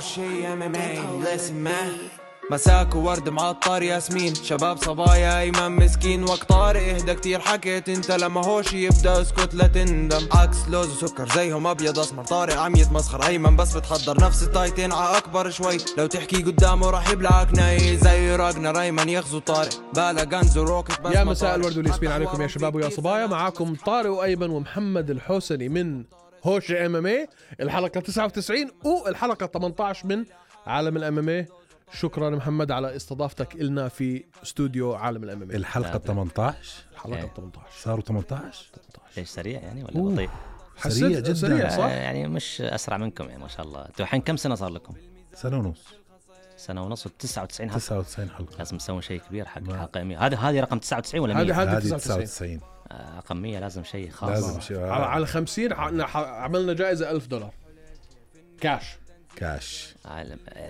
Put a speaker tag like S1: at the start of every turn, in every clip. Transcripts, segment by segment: S1: شي ام ام اي listen man مساك وورد معطر ياسمين شباب صبايا ايمن مسكين وقت طارق اهدى كتير حكيت انت لما هوش يبدا اسكت لا تندم عكس لوز وسكر زيهم ابيض اسمر طارق عم يتمسخر ايمن بس بتحضر نفس التايتين ع اكبر شوي لو تحكي قدامه راح يبلعك ناي زي راجنا ريمان يغزو طارق بالا غنز وروكت بس
S2: يا
S1: ما
S2: مساء
S1: طارق.
S2: الورد والياسمين عليكم يا شباب ويا
S1: حتى
S2: صبايا
S1: ورد
S2: معاكم طارق وايمن ومحمد الحوسني من هوش إيه. ام ام اي الحلقه 99 والحلقه 18 من عالم الام ام اي شكرا محمد على استضافتك النا في استوديو عالم إيه. الام ام اي
S3: الحلقه 18
S2: الحلقه
S4: إيه.
S2: 18
S3: صاروا 18
S4: ليش سريع يعني ولا
S2: أوه.
S4: بطيء؟
S2: حسيت
S3: سريع جداً.
S2: سريع
S4: آه،
S2: صح؟
S4: يعني مش اسرع منكم يعني ما شاء الله، انتوا الحين كم سنه صار لكم؟
S3: سنه ونص
S4: سنه ونص و99 حلقه
S3: 99 حلقه
S4: لازم تسوون شيء كبير حق
S3: ما-
S4: حلقه 100 هذا هذه رقم 99 ولا 100
S2: هذه هذه
S3: هذه
S2: 99
S3: 99
S4: آه، رقم 100 لازم شيء خاص
S3: لازم شيء
S2: على على 50 عنا- ح- عملنا جائزه 1000 دولار كاش
S3: كاش
S4: آه،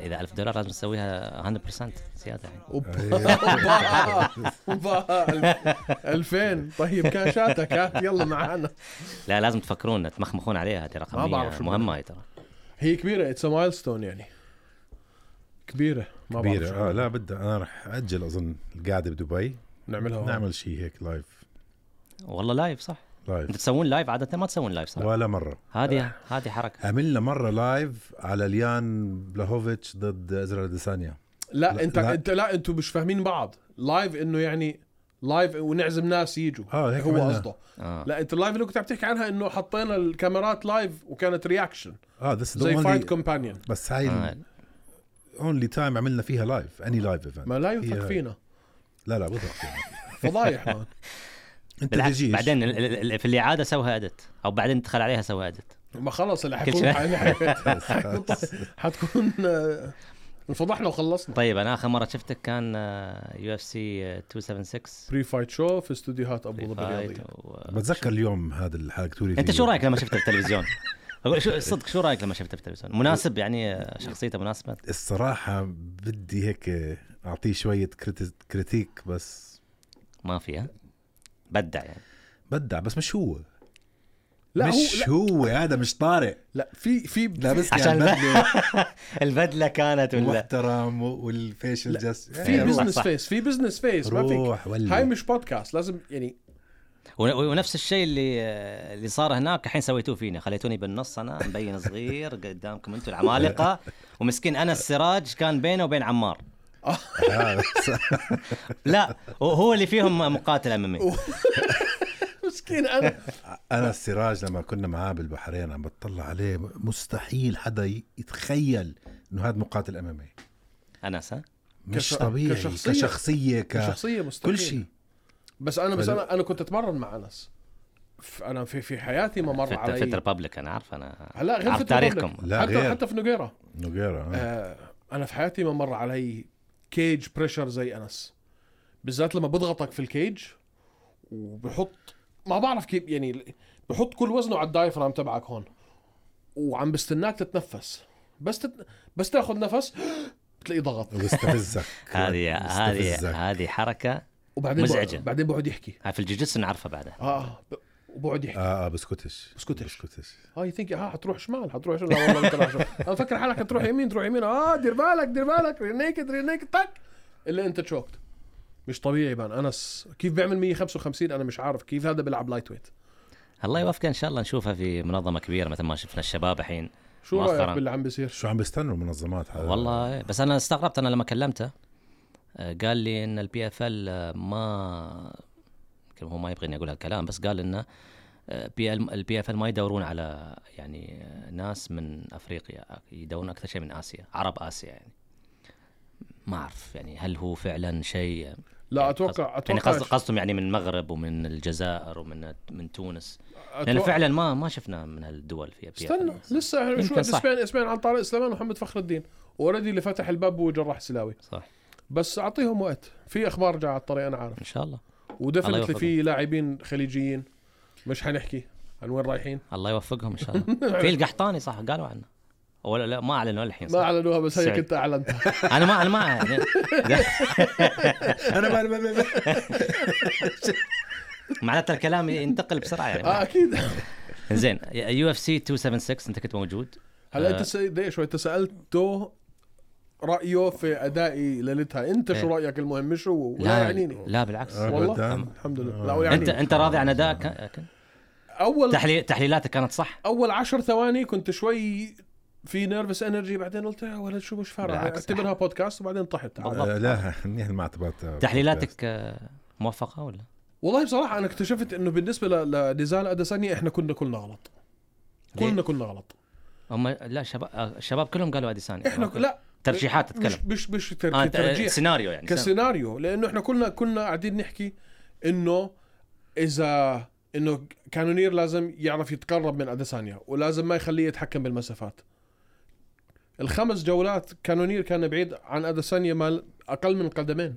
S4: اذا 1000 دولار لازم نسويها 100% زياده يعني
S2: أوبا، 2000 طيب كاشاتك هات يلا معانا
S4: لا لازم تفكرون تمخمخون عليها هذه رقم
S2: ما بعرف
S4: 100
S2: شو
S4: مهمه هي ترى
S2: هي كبيره اتس مايل ستون يعني كبيره ما بعرف
S3: كبيرة
S2: شو.
S3: اه لا بدي انا رح اجل اظن القعدة بدبي
S2: نعملها هون.
S3: نعمل شيء هيك لايف
S4: والله لايف صح؟ انتوا
S3: لايف
S4: تسوون لايف عاده ما تسوون لايف صح؟
S3: ولا مرة
S4: هذه هذه حركه
S3: عملنا مرة لايف على ليان بلاهوفيتش ضد ازرا ديسانيا
S2: لا,
S3: لا،
S2: انت
S3: لا.
S2: انت لا انتوا مش فاهمين بعض لايف انه يعني لايف ونعزم ناس يجوا
S3: آه، هيك
S2: هو
S3: عملنا.
S2: قصده
S4: آه.
S2: لا انت اللايف اللي كنت عم تحكي عنها انه حطينا الكاميرات لايف وكانت رياكشن
S3: اه ذس
S2: زي فايت
S3: ذا
S2: كومبانيون
S3: بس هاي
S4: آه.
S3: اونلي تايم عملنا فيها لايف اني لايف ايفنت
S2: ما لا يوثق فينا
S3: لا لا بوثق فيها
S2: فضايح مان
S3: انت
S4: بالعكس
S3: تجيش
S4: بعدين ال- ال- ال- في الاعاده سوها ادت او بعدين ادخل عليها سوها ادت
S2: ما خلص اللي
S4: كل
S2: حيكون
S4: شيء.
S2: حتكون آه، انفضحنا وخلصنا
S4: طيب انا اخر مره شفتك كان آه، يو اف سي 276
S2: بري فايت شو في استديوهات ابو ظبي
S4: فايت
S2: الرياضيه
S4: و-
S3: بتذكر اليوم هذا الحلقة توري
S4: انت
S3: فيه.
S4: طيب، شو رايك لما شفته بالتلفزيون؟ اقول شو صدق شو رايك لما شفته بالتلفزيون؟ مناسب يعني آه، شخصيته مناسبه؟
S3: الصراحة بدي هيك أعطيه شوية كريتي- كريتيك بس
S4: ما فيها بدع يعني
S3: بدع بس مش هو
S2: لا هو
S3: مش هو, هذا مش طارق
S2: لا في في
S3: لابسني
S4: عشان لا.
S3: البدلة
S4: البدله كانت ولا
S3: محترم والفيشل جاست
S2: في
S4: روح
S2: بزنس
S4: صح.
S2: فيس في بزنس فيس ما فيك
S3: يعني روح ولي.
S2: هاي مش بودكاست لازم يعني
S4: و- ونفس الشيء اللي آه، اللي صار هناك الحين سويتوه فيني خليتوني بالنص انا مبين صغير قدامكم انتم العمالقه ومسكين انا السراج كان بينه وبين عمار لا هو اللي فيهم مقاتل امامي
S2: مسكين انا
S3: أنا السراج لما كنا معاه بالبحرين عم بتطلع عليه مستحيل حدا ي- يتخيل إنه هذا مقاتل أمامي
S4: انس ها
S3: مش
S2: كش-
S3: طبيعي
S2: كشخصية.
S3: كشخصية كشخصية, ك...
S2: شخصيه مستحيل
S3: كل شيء
S2: بس انا بس انا انا كنت اتمرن مع انس ف- انا في في حياتي ما مر
S4: في في
S2: علي
S4: الريببليك انا عارف انا
S2: هلا غير
S4: عارف
S2: في
S4: تاريخكم
S3: لا،
S2: حتى
S3: غير.
S2: حتى في نوجيرا
S3: نوغيرا
S2: آه انا في حياتي ما مر علي كيج بريشر زي انس بالذات لما بضغطك في الكيج وبحط ما بعرف كيف يعني بحط كل وزنه على الدايفرام تبعك هون وعم بستناك تتنفس بس تت... بس تاخذ نفس بتلاقيه ضغط
S3: وبستفزك
S4: هذه هذه
S3: بستفزك.
S4: هذه حركه
S2: وبعدين
S4: مزعجة.
S2: بق- بعدين بقعد يحكي
S4: هاي في الجوجيتسو نعرفها بعدها
S2: اه ب... وبقعد يحكي
S3: آه آه بسكتش
S2: بسكتش.
S3: بسكتش
S2: هاي ثينك ها حتروح شمال حتروح شمال لا والله بتروح شمال. انا فكر حالك حتروح يمين تروح يمين اه دير بالك دير بالك رينيكد رينيكد تك اللي انت تشوكت مش طبيعي بان انس كيف بيعمل 155 انا مش عارف كيف هذا بيلعب لايت ويت
S4: الله يوفقه ان شاء الله نشوفها في منظمه كبيره مثل ما شفنا الشباب الحين
S2: شو رايك
S4: مؤخراً.
S2: باللي عم بيصير
S3: شو عم بيستنوا المنظمات هذا
S4: والله بس انا استغربت انا لما كلمته آه، قال لي ان البي اف ال آه، ما يمكن هو ما يبغيني اقول هالكلام بس قال انه البي اف ال ما يدورون على يعني آه، ناس من افريقيا يدورون اكثر شيء من اسيا عرب اسيا يعني ما اعرف يعني هل هو فعلا شيء
S2: لا
S4: يعني
S2: اتوقع
S4: قصد- يعني قصد
S2: اتوقع
S4: قصدهم يعني من المغرب ومن الجزائر ومن من تونس لانه
S2: أتوقع-
S4: فعلا ما ما شفنا من هالدول في في-
S2: استنى لسه شو
S4: يعني يمكن صح.
S2: اسمعين اسمعين عن طارق سليمان ومحمد فخر الدين اوريدي اللي فتح الباب هو جراح سلاوي
S4: صح
S2: بس اعطيهم وقت في اخبار جايه على الطريق انا عارف
S4: ان شاء الله
S2: ودفنتلي
S4: يوفقهم.
S2: في لاعبين خليجيين مش حنحكي عن وين رايحين
S4: الله يوفقهم ان شاء الله في القحطاني صح قالوا عنه ولا لا ما اعلنوا الحين
S2: ما
S4: صح؟
S2: اعلنوها بس هي
S4: سعيد.
S2: كنت اعلنتها
S4: انا ما انا ما يعني
S3: انا ما- ما- ما- ما-
S4: معناته
S2: آه،
S4: الكلام ينتقل بسرعه يعني
S2: اه اكيد
S4: زين يو اف سي 276 انت كنت موجود
S2: هلا
S4: آه.
S2: انت س... دقيقة شوي انت سالته رايه في ادائي ليلتها انت شو
S4: إيه.
S2: رايك المهم مش هو لا يعني
S4: لا
S2: يعنيني
S4: لا بالعكس
S3: آه،
S2: والله؟
S3: بدأ.
S2: الحمد لله
S3: آه.
S2: لا هو
S4: انت
S2: يعني
S4: انت راضي عن ادائك
S2: اول
S4: تحليل تحليلاتك كانت صح
S2: اول عشر ثواني كنت شوي في نيرفس انرجي بعدين قلت يا ولد شو مش فارقه
S4: بالعكس.
S2: اعتبرها بودكاست وبعدين طحت
S4: بالضبط.
S3: آه، لا منيح ما اعتبرت
S4: تحليلاتك آه، موفقه ولا
S2: والله بصراحه انا اكتشفت انه بالنسبه ل- لنزال اديسانيا احنا كنا كلنا غلط
S4: ليه؟
S2: كلنا كلنا غلط
S4: هم لا شباب آه، الشباب كلهم قالوا اديسانيا
S2: احنا ك... لا
S4: ترشيحات
S2: مش
S4: تتكلم
S2: مش مش
S4: آه
S2: تر...
S4: انت
S2: ترجيح
S4: سيناريو يعني
S2: كسيناريو لانه احنا كلنا كنا قاعدين نحكي انه اذا انه كانونير لازم يعرف يتقرب من اديسانيا ولازم ما يخليه يتحكم بالمسافات الخمس جولات كانونير كان بعيد عن اديسانيا ما اقل من قدمين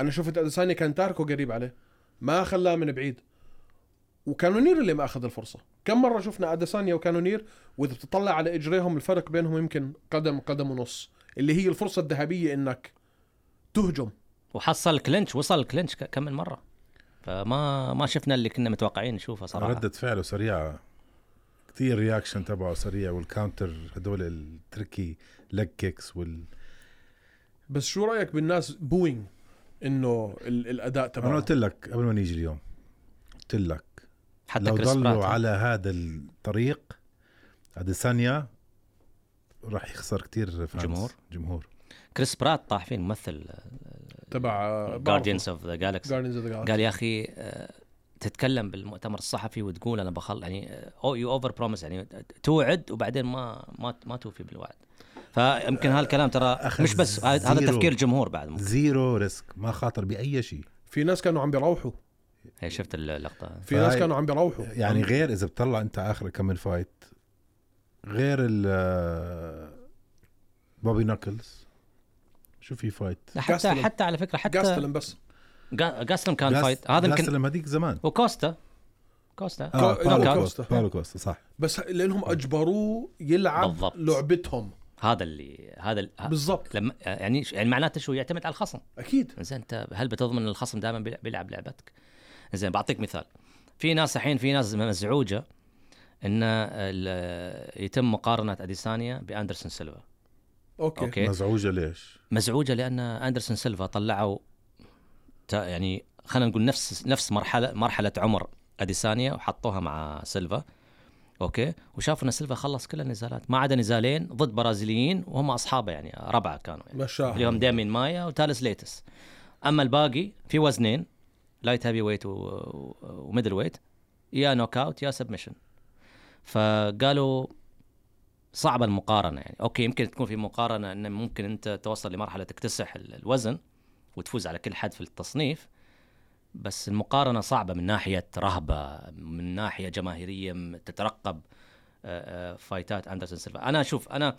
S2: انا شفت اديسانيا كان تاركه قريب عليه ما خلاه من بعيد وكانونير اللي ما اخذ الفرصه كم مره شفنا اديسانيا وكانونير واذا بتطلع على اجريهم الفرق بينهم يمكن قدم قدم ونص اللي هي الفرصه الذهبيه انك تهجم
S4: وحصل كلينش وصل كلينش ك- كم من مره فما ما شفنا اللي كنا متوقعين نشوفه صراحه
S3: ردة فعله سريعة كثير رياكشن تبعه سريع والكاونتر هدول التركي لج كيكس وال
S2: بس شو رايك بالناس بوينج انه ال- الاداء
S3: انا
S2: تبعه
S3: قلت لك قبل ما نيجي اليوم قلت لك
S4: حتى
S3: لو
S4: كريس برات
S3: ضلوا
S4: على...
S3: على هذا الطريق اديسانيا راح يخسر كثير فرانس
S4: جمهور.
S3: جمهور
S4: كريس برات طاح فيه الممثل آه،
S2: تبع
S4: جارديانز اوف ذا جالكسي
S2: جاردينز اوف ذا
S4: قال يا اخي آه، تتكلم بالمؤتمر الصحفي وتقول انا بخل يعني يو اوفر بروميس يعني توعد وبعدين ما ما ما توفي بالوعد فيمكن هالكلام ترى
S3: أخذ
S4: مش بس هذا هذا
S3: زيرو.
S4: تفكير الجمهور بعد ممكن.
S3: زيرو ريسك ما خاطر باي شيء
S2: في ناس كانوا عم بيروحوا
S4: هي إيه، شفت اللقطه
S2: في ناس
S3: فهاي-
S2: كانوا عم بيروحوا
S3: يعني غير اذا بتطلع انت اخر كم فايت غير ال بوبي ناكلز شو في فايت
S4: لا، حتى
S2: جاستلم.
S4: حتى على فكره حتى
S2: جاستلم بس
S4: جا- جاستلم كان
S3: جاس-
S4: فايت هذا يمكن
S3: جاستلم هذيك زمان
S4: وكوستا كوستا
S3: اه
S2: كو-
S3: باولو
S4: كان-
S3: كوستا باولو كوستا صح
S2: بس لانهم اجبروه يلعب
S4: بالضبط. آه.
S2: لعبتهم
S4: هذا اللي هذا ال- ه-
S2: بالضبط
S4: لما يعني ش- يعني معناته شو يعتمد على الخصم
S2: اكيد
S4: زين انت هل بتضمن إن الخصم دائما بيلعب- بيلعب لعبتك زين بعطيك مثال في ناس الحين في ناس مزعوجه ان ال- يتم مقارنه اديسانيا باندرسون سيلفا
S2: اوكي,
S4: أوكي.
S3: مزعوجه ليش؟
S4: مزعوجه لان اندرسون سيلفا طلعوا تا- يعني خلينا نقول نفس نفس مرحله مرحله عمر اديسانيا وحطوها مع سيلفا اوكي وشافوا ان سيلفا خلص كل النزالات ما عدا نزالين ضد برازيليين وهم اصحابه يعني ربعه كانوا يعني. اللي
S2: مشاهد
S4: هم دامين مايا وتالس ليتس اما الباقي في وزنين لايت هيفي ويت و- و- وميدل ويت يا نوك اوت يا سبمشن فقالوا صعبه المقارنه يعني اوكي يمكن تكون في مقارنه ان ممكن انت توصل لمرحله تكتسح ال- الوزن وتفوز على كل حد في التصنيف بس المقارنه صعبه من ناحيه رهبه من ناحيه جماهيريه م- تترقب آه، آه، فايتات اندرسون سيلفا انا اشوف انا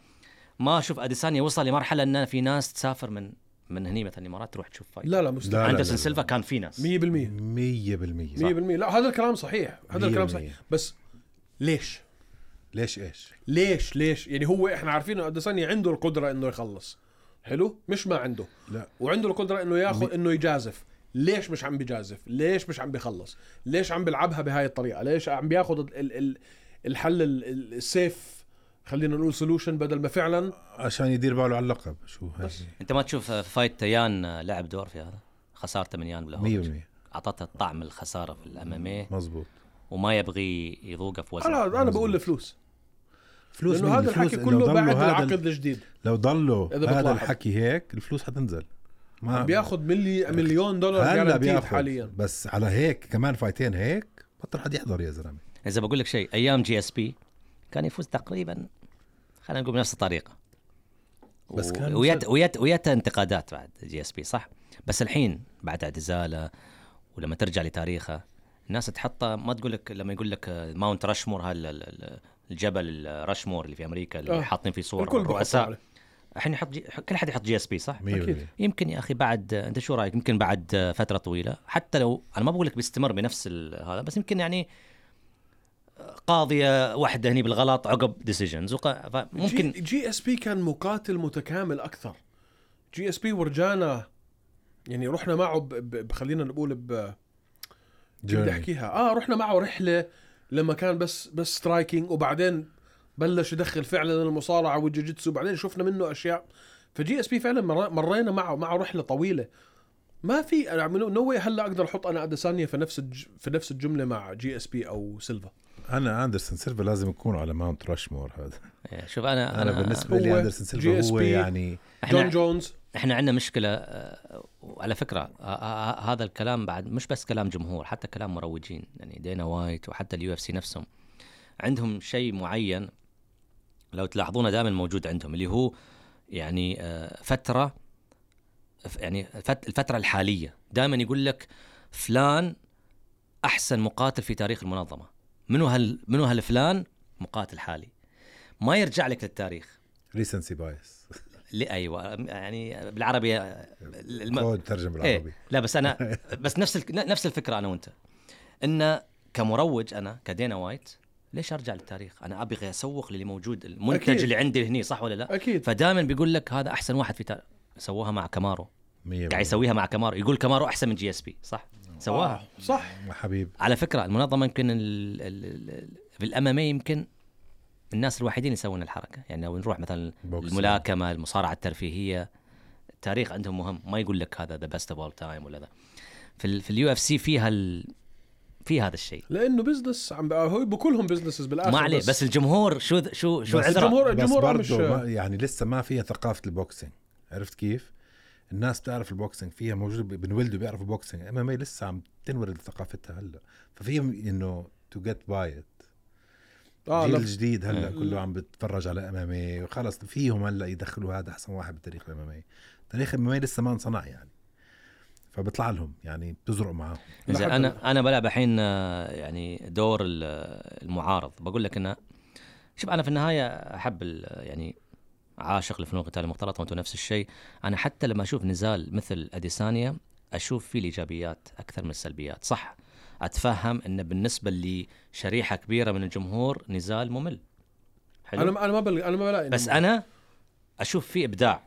S4: ما اشوف اديسانيا وصل لمرحله ان في ناس تسافر من من هني مثلا الامارات تروح تشوف فايت
S2: لا لا
S3: لا،
S2: مستحيل
S3: لا.
S4: اندرسون سيلفا كان في ناس
S2: 100% 100%
S3: 100%
S2: لا هذا الكلام صحيح هذا الكلام
S3: 100%.
S2: صحيح بس ليش
S3: ليش ايش؟
S2: ليش ليش يعني هو احنا عارفين انه اديسانيا عنده القدره انه يخلص حلو مش ما عنده
S3: لا
S2: وعنده القدره انه ياخذ انه يجازف ليش مش عم بيجازف ليش مش عم بيخلص ليش عم بيلعبها بهاي الطريقه ليش عم بياخذ ال- ال- الحل ال- ال- السيف خلينا نقول سولوشن بدل ما فعلا
S3: عشان يدير باله على اللقب شو هاي
S4: انت ما تشوف آه، فايت يان آه، لعب دور في هذا خسارته من يان بالهوج
S3: 100%
S4: اعطته طعم الخساره في الاماميه
S3: مزبوط
S4: وما يبغي يذوقه في وزنه
S2: انا انا بقول الفلوس
S3: فلوس
S2: لانه
S3: مين؟
S2: هذا
S3: الفلوس
S2: الحكي
S3: إنه
S2: كله
S3: ضلوا
S2: بعد
S3: هذا
S2: العقد
S3: ال-
S2: الجديد
S3: لو ضلوا
S2: إذا
S3: هذا
S2: بتلاحظ.
S3: الحكي هيك الفلوس حتنزل ما
S2: بياخذ ملي مليون دولار
S3: آه. هلا
S2: جارانتيد
S3: بياخذ
S2: حاليا
S3: بس على هيك كمان فايتين هيك بطل حد يحضر يا زلمه
S4: اذا بقول لك شيء ايام جي اس بي كان يفوز تقريبا خلينا نقول بنفس الطريقه
S3: بس
S4: و-
S3: كان
S4: ويت ويت ويت انتقادات بعد جي اس بي صح بس الحين بعد اعتزاله ولما ترجع لتاريخه الناس تحطه ما تقول لك لما يقول لك آه، ماونت راشمور هال ال- ال- الجبل الراشمور اللي في امريكا اللي
S2: آه.
S4: حاطين فيه صور
S2: الكل بحط
S4: الرؤساء
S2: عليه
S4: الحين يحط جي... كل حد يحط جي اس بي صح؟
S3: 100%
S2: أكيد.
S4: يمكن يا اخي بعد انت شو رايك يمكن بعد فتره طويله حتى لو انا ما بقول لك بيستمر بنفس ال- هذا بس يمكن يعني قاضيه واحده هني بالغلط عقب ديسيجنز
S2: ممكن
S4: ممكن
S2: جي اس بي كان مقاتل متكامل اكثر جي اس بي ورجانا يعني رحنا معه ب- ب- ب- خلينا نقول ب بدي
S3: Journey.
S2: آه، احكيها اه رحنا معه رحله لما كان بس بس سترايكينج وبعدين بلش يدخل فعلا المصارعه والجوجيتسو بعدين شفنا منه اشياء فجي اس بي فعلا مر- مرينا معه معه رحله طويله ما في يعني انا نو واي هلا اقدر احط انا اديسانيا في نفس الج... في نفس الجمله مع جي اس بي او سيلفا
S3: انا اندرسون سيلفا لازم يكون على ماونت راشمور هذا
S4: إيه، شوف
S3: انا,
S4: انا
S3: أنا بالنسبه لي
S2: هو
S3: اندرسون
S2: GSP
S3: سيلفا هو يعني
S2: جون
S4: احنا
S2: جونز
S4: احنا عندنا مشكله آه، وعلى فكره آه، آه، آه، هذا الكلام بعد مش بس كلام جمهور حتى كلام مروجين يعني دينا وايت وحتى اليو اف سي نفسهم عندهم شيء معين لو تلاحظونه دائما موجود عندهم اللي هو يعني آه، فتره ف- يعني فت- الفتره الحاليه دائما يقول لك فلان احسن مقاتل في تاريخ المنظمه منو هال منو هالفلان مقاتل حالي ما يرجع لك للتاريخ
S3: ريسنسي بايس
S4: لأ- ايوه يعني بالعربي آه، الم-
S3: هو ترجم بالعربي
S4: إيه. لا بس انا بس نفس الك- نفس الفكره انا وانت ان كمروج انا كدينا وايت ليش ارجع للتاريخ؟ انا ابغى اسوق للي موجود المنتج
S2: أكيد.
S4: أكيد. اللي عندي هني صح ولا لا؟
S2: اكيد
S4: فدائما بيقول لك هذا احسن واحد في تاريخ سووها مع كامارو
S3: مية
S4: قاعد يسويها مع كامارو يقول كامارو احسن من جي اس بي صح؟ سواها
S2: آه، صح
S3: بالمية. حبيب
S4: على فكره المنظمه يمكن ال- ال- ال- في الاماميه يمكن الناس الوحيدين اللي يسوون الحركه يعني لو نروح مثلا
S3: بوكسينج.
S4: الملاكمه المصارعه الترفيهيه التاريخ عندهم مهم ما يقول لك هذا ذا بيست اوف اول تايم ولا ذا في ال في اليو اف سي فيها ال في هذا الشيء
S2: لانه بزنس عم هو كلهم بزنسز بالاخر
S4: ما عليه بس, بس الجمهور شو ذ- شو شو عذره
S2: الجمهور-
S3: بس
S2: الجمهور
S3: برضه
S2: مش-
S3: ما- يعني لسه ما فيها ثقافه البوكسينج عرفت كيف؟ الناس بتعرف البوكسينج فيها موجود ب- بنولدوا بيعرفوا بوكسينج اما ما إيه لسه عم تنولد ثقافتها هلا ففيهم انه تو جيت باي
S2: آه
S3: الجيل
S2: لا.
S3: الجديد هلا
S4: مم.
S3: كله عم بتفرج على امامي وخلص فيهم هلا يدخلوا هذا احسن واحد بالتاريخ الامامي إيه. تاريخ الامامي لسه ما انصنع يعني فبطلع لهم يعني بتزرقوا معاهم
S4: زين
S2: لحد
S4: انا انا بلعب الحين آه، يعني دور ال- آه، المعارض بقول لك انه شوف انا في النهايه احب ال- يعني عاشق لفنون القتال المختلطه وانتم نفس الشيء انا حتى لما اشوف نزال مثل اديسانيا اشوف فيه الايجابيات اكثر من السلبيات صح اتفهم انه بالنسبه لشريحه كبيره من الجمهور نزال ممل حلو
S2: انا ما- انا ما بلغ انا ما بلاقي
S4: بس
S2: إنه-
S4: انا اشوف في ابداع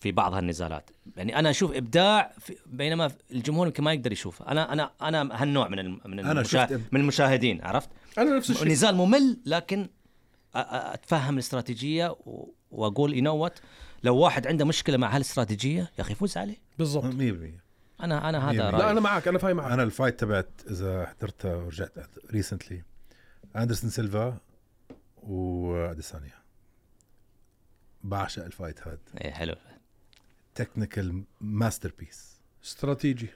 S4: في بعض هالنزالات يعني انا اشوف ابداع في بينما الجمهور يمكن ما يقدر يشوفه انا انا انا هالنوع من الم- من
S3: أنا
S4: المشا...
S3: شفت إب-
S4: من المشاهدين عرفت
S2: انا نفس الشيء
S4: نزال ممل لكن أ- أ- اتفهم الاستراتيجيه و- واقول يو نو وات لو واحد عنده مشكله مع هالاستراتيجيه يا اخي فوز عليه
S2: بالضبط
S3: 100%
S4: انا انا هذا
S3: لا،
S4: رايي
S2: لا انا معك انا فاهم معك
S3: انا الفايت تبعت اذا حضرتها ورجعت ريسنتلي اندرسون سيلفا واديسانيا بعشق الفايت هاد
S4: إيه حلو
S3: تكنيكال ماستر بيس
S2: استراتيجي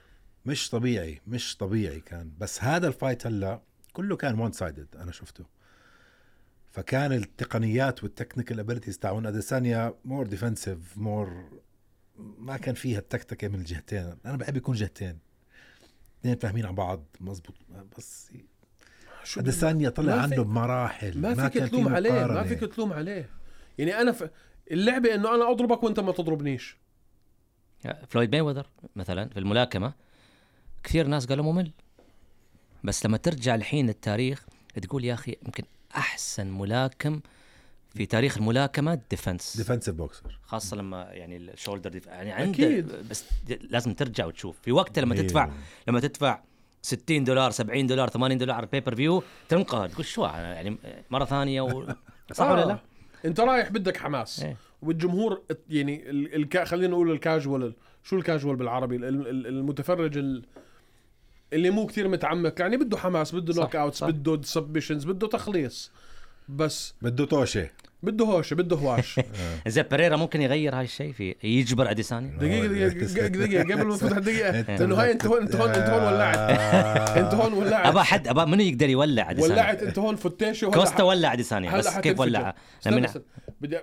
S3: مش طبيعي مش طبيعي كان بس هذا الفايت هلا كله كان وان سايدد انا شفته فكان التقنيات والتكنيكال ابيلتيز تاعون اديسانيا مور ديفنسيف مور ما كان فيها التكتكه من الجهتين انا بحب يكون جهتين اثنين فاهمين على بعض مزبوط بس
S2: شو
S3: اديسانيا طلع
S2: ما في-
S3: عنه بمراحل
S2: ما فيك
S3: كان في
S2: تلوم عليه ما
S3: مقارنة.
S2: فيك تلوم عليه يعني انا ف... اللعبه انه انا اضربك وانت ما تضربنيش
S4: فلويد مايوذر مثلا في الملاكمه كثير ناس قالوا ممل بس لما ترجع الحين للتاريخ تقول يا اخي يمكن احسن ملاكم في تاريخ الملاكمه الديفنس
S3: ديفنسيف بوكسر
S4: خاصه لما يعني الشولدر ديف... يعني عنده
S2: أكيد.
S4: بس لازم ترجع وتشوف في وقتها لما
S3: إيه.
S4: تدفع لما تدفع 60 دولار 70 دولار 80 دولار على البيبر فيو تنقهر تقول شو أنا يعني مره ثانيه و... صح ولا لا؟
S2: انت آه. رايح بدك حماس
S4: إيه.
S2: والجمهور يعني ال... الك... خلينا نقول الكاجوال شو الكاجوال بالعربي ال- ال- المتفرج ال... اللي مو كثير متعمق يعني بده حماس بده
S4: صح،
S2: نوك اوتس
S4: صح.
S2: بده سبشنز بده تخليص بس
S3: بده طوشه
S2: بده هوشه بده هواش
S4: زين بريرا ممكن يغير هاي الشيء في يجبر اديسانيا
S2: دقيقه دقيقه دقيقه قبل ما نفوت على الدقيقه لانه هاي انت هون انت هون انت هون ولعت انت هون ولعت
S4: ابا حد ابا منو يقدر يولع اديسانيا
S2: ولعت انت هون فتيشه وهلا
S4: كوستا ولع اديسانيا
S2: هلا
S4: بس
S2: حتنفجر.
S4: كيف ولعها؟
S2: استنى
S4: لما
S2: استنى. بدي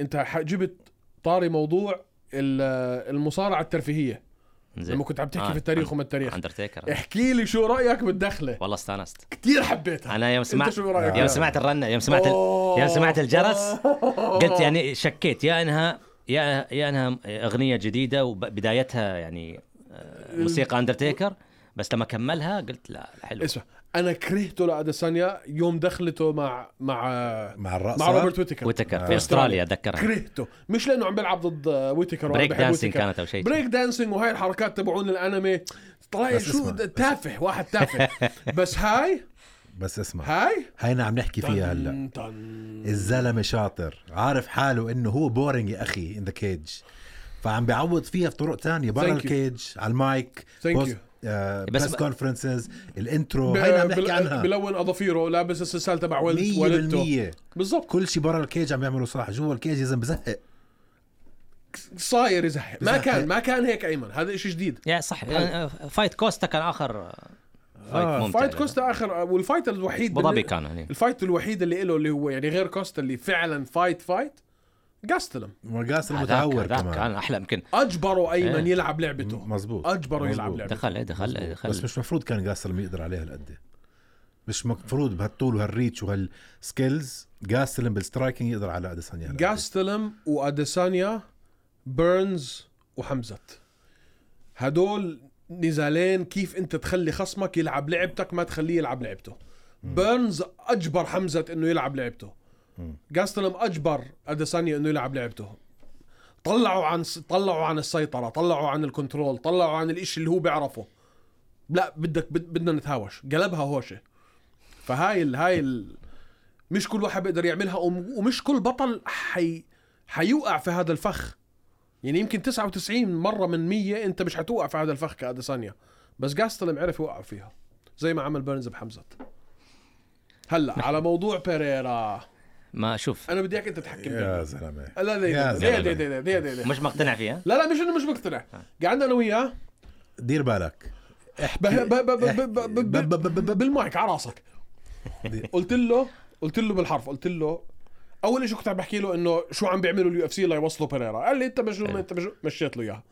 S2: انت ح- جبت طاري موضوع ال- المصارعه الترفيهيه
S4: زين.
S2: لما كنت عم تحكي
S4: آه،
S2: في التاريخ
S4: عن-
S2: وما التاريخ
S4: اندرتيكر
S2: احكي لي شو رايك بالدخله
S4: والله استانست
S2: كثير حبيتها
S4: انا يوم سمعت
S2: شو رأيك؟
S4: يوم سمعت الرنه يوم سمعت ال... يوم سمعت الجرس قلت يعني شكيت يا انها يا يا انها اغنيه جديده وبدايتها يعني آه، موسيقى اندرتيكر بس لما كملها قلت لا لا، حلو
S2: اسمع انا كرهته لاديسانيا يوم دخلته مع مع
S3: مع الراس
S2: مع روبرت ويتكر
S4: وتكر
S3: آه.
S4: في استراليا اتذكرها
S2: كرهته مش لانه عم بيلعب ضد ويتكر وأنا
S4: بريك
S2: بحب
S4: دانسينج
S2: ويتكر.
S4: كانت او شيء
S2: بريك دانسينج وهاي الحركات تبعون الانمي طلع
S3: بس
S2: شو
S3: اسمع.
S2: تافه واحد تافه بس هاي
S3: بس اسمع
S2: هاي
S3: هينا عم نحكي فيها هلا
S2: تن- تن.
S3: الزلمه شاطر عارف حاله انه هو بورينج يا اخي ان ذا كيج فعم بيعوض فيها بطرق تانية برا
S2: Thank you.
S3: الكيج على المايك آه،
S2: Thank you.
S4: بس
S3: بس
S4: ب-
S3: كونفرنسز الانترو
S2: ب-
S3: هينا عم نحكي
S2: بل-
S3: عنها
S2: بلون اظافيره لابس السلسال تبع والد- والدته
S3: 100%
S2: بالضبط
S3: كل شيء برا الكيج عم يعملوا صح جوا الكيج يا زلمه بزهق
S2: صاير يزحف ما
S3: بزحف.
S2: كان ما كان هيك ايمن هذا شيء جديد
S4: يعني صح يعني فايت كوستا كان اخر فايت
S3: آه،
S4: ممتع
S2: فايت كوستا اخر والفايت الوحيد
S4: ابو ظبي
S2: بالن-
S4: كان يعني
S2: الفايت الوحيد اللي له اللي هو يعني غير كوستا اللي فعلا فايت فايت قاستلم
S3: وقاس
S4: هذاك-
S3: المتعور
S4: هذاك
S3: كمان
S4: كان احلى يمكن
S2: اجبروا ايمن
S4: إيه.
S2: يلعب لعبته
S3: مزبوط
S2: اجبره يلعب
S3: مزبوط.
S2: لعبته
S4: دخل إيه، دخل إيه، دخل
S3: بس مش مفروض كان قاسلم يقدر عليها هالقد مش مفروض بهالطول وهالريتش وهالسكيلز قاسلم بالسترايكنج يقدر على اديسانيا هالقد.
S2: جاستلم واديسانيا بيرنز وحمزت هدول نزالين كيف انت تخلي خصمك يلعب لعبتك ما تخليه يلعب لعبته بيرنز اجبر حمزت انه يلعب لعبته
S3: مم.
S2: جاستلم اجبر اديسانيا انه يلعب لعبته طلعوا عن طلعوا عن السيطره طلعوا عن الكنترول طلعوا عن الإشي اللي هو بيعرفه لا بدك بد- بدنا نتهاوش قلبها هوشه فهاي ال هاي ال مش كل واحد بيقدر يعملها وم- ومش كل بطل حي حيوقع في هذا الفخ يعني يمكن 99 مره من 100 انت مش حتوقع في هذا الفخ كاديسانيا بس جاستلم عرف يوقع فيها زي ما عمل بيرنز بحمزت هلا على موضوع بيريرا
S4: ما شوف
S2: انا بدي اياك انت تحكم
S3: يا
S2: لا
S3: زلمه
S2: لا لا
S3: يا
S2: لا
S3: زلمة.
S2: لا لا لا لا
S4: مش مقتنع فيها
S2: لا لا مش انه مش مقتنع قعدنا انا وياه
S3: دير بالك
S2: ب- ب- ب- ب- ب- ب- ب-
S3: ب- ب- ب- ب-
S2: بالمايك على راسك قلت له قلت له بالحرف قلت له اول شيء كنت عم بحكي له انه شو عم بيعملوا اليو اف سي ليوصلوا بيريرا قال لي انت مجنون انت مجنون مشيت له اياها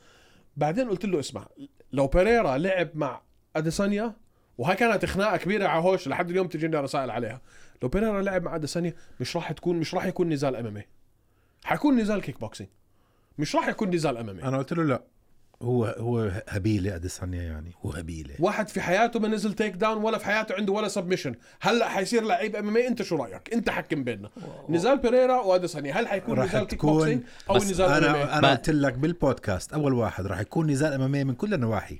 S2: بعدين قلت له اسمع لو بيريرا لعب مع اديسانيا وهاي كانت خناقه كبيره على هوش لحد اليوم تجيني رسائل عليها لو بيريرا لعب مع اديسانيا مش راح تكون مش راح يكون نزال امامي حيكون نزال كيك بوكسينج مش راح يكون نزال إيه. امامي
S3: انا قلت له لا هو هو هبيله اديسانيا يعني هو هبيله
S2: واحد في حياته ما نزل تيك داون ولا في حياته عنده ولا سبمشن هلا حيصير لعيب ام انت شو رايك انت حكم بيننا نزال بيريرا واديسانيا هل حيكون
S3: راح
S2: نزال كيك بوكسينج
S3: تكون
S2: او
S3: بس
S2: نزال انا
S3: انا انا
S4: ما-
S3: قلت لك بالبودكاست اول واحد راح يكون نزال امامي من كل النواحي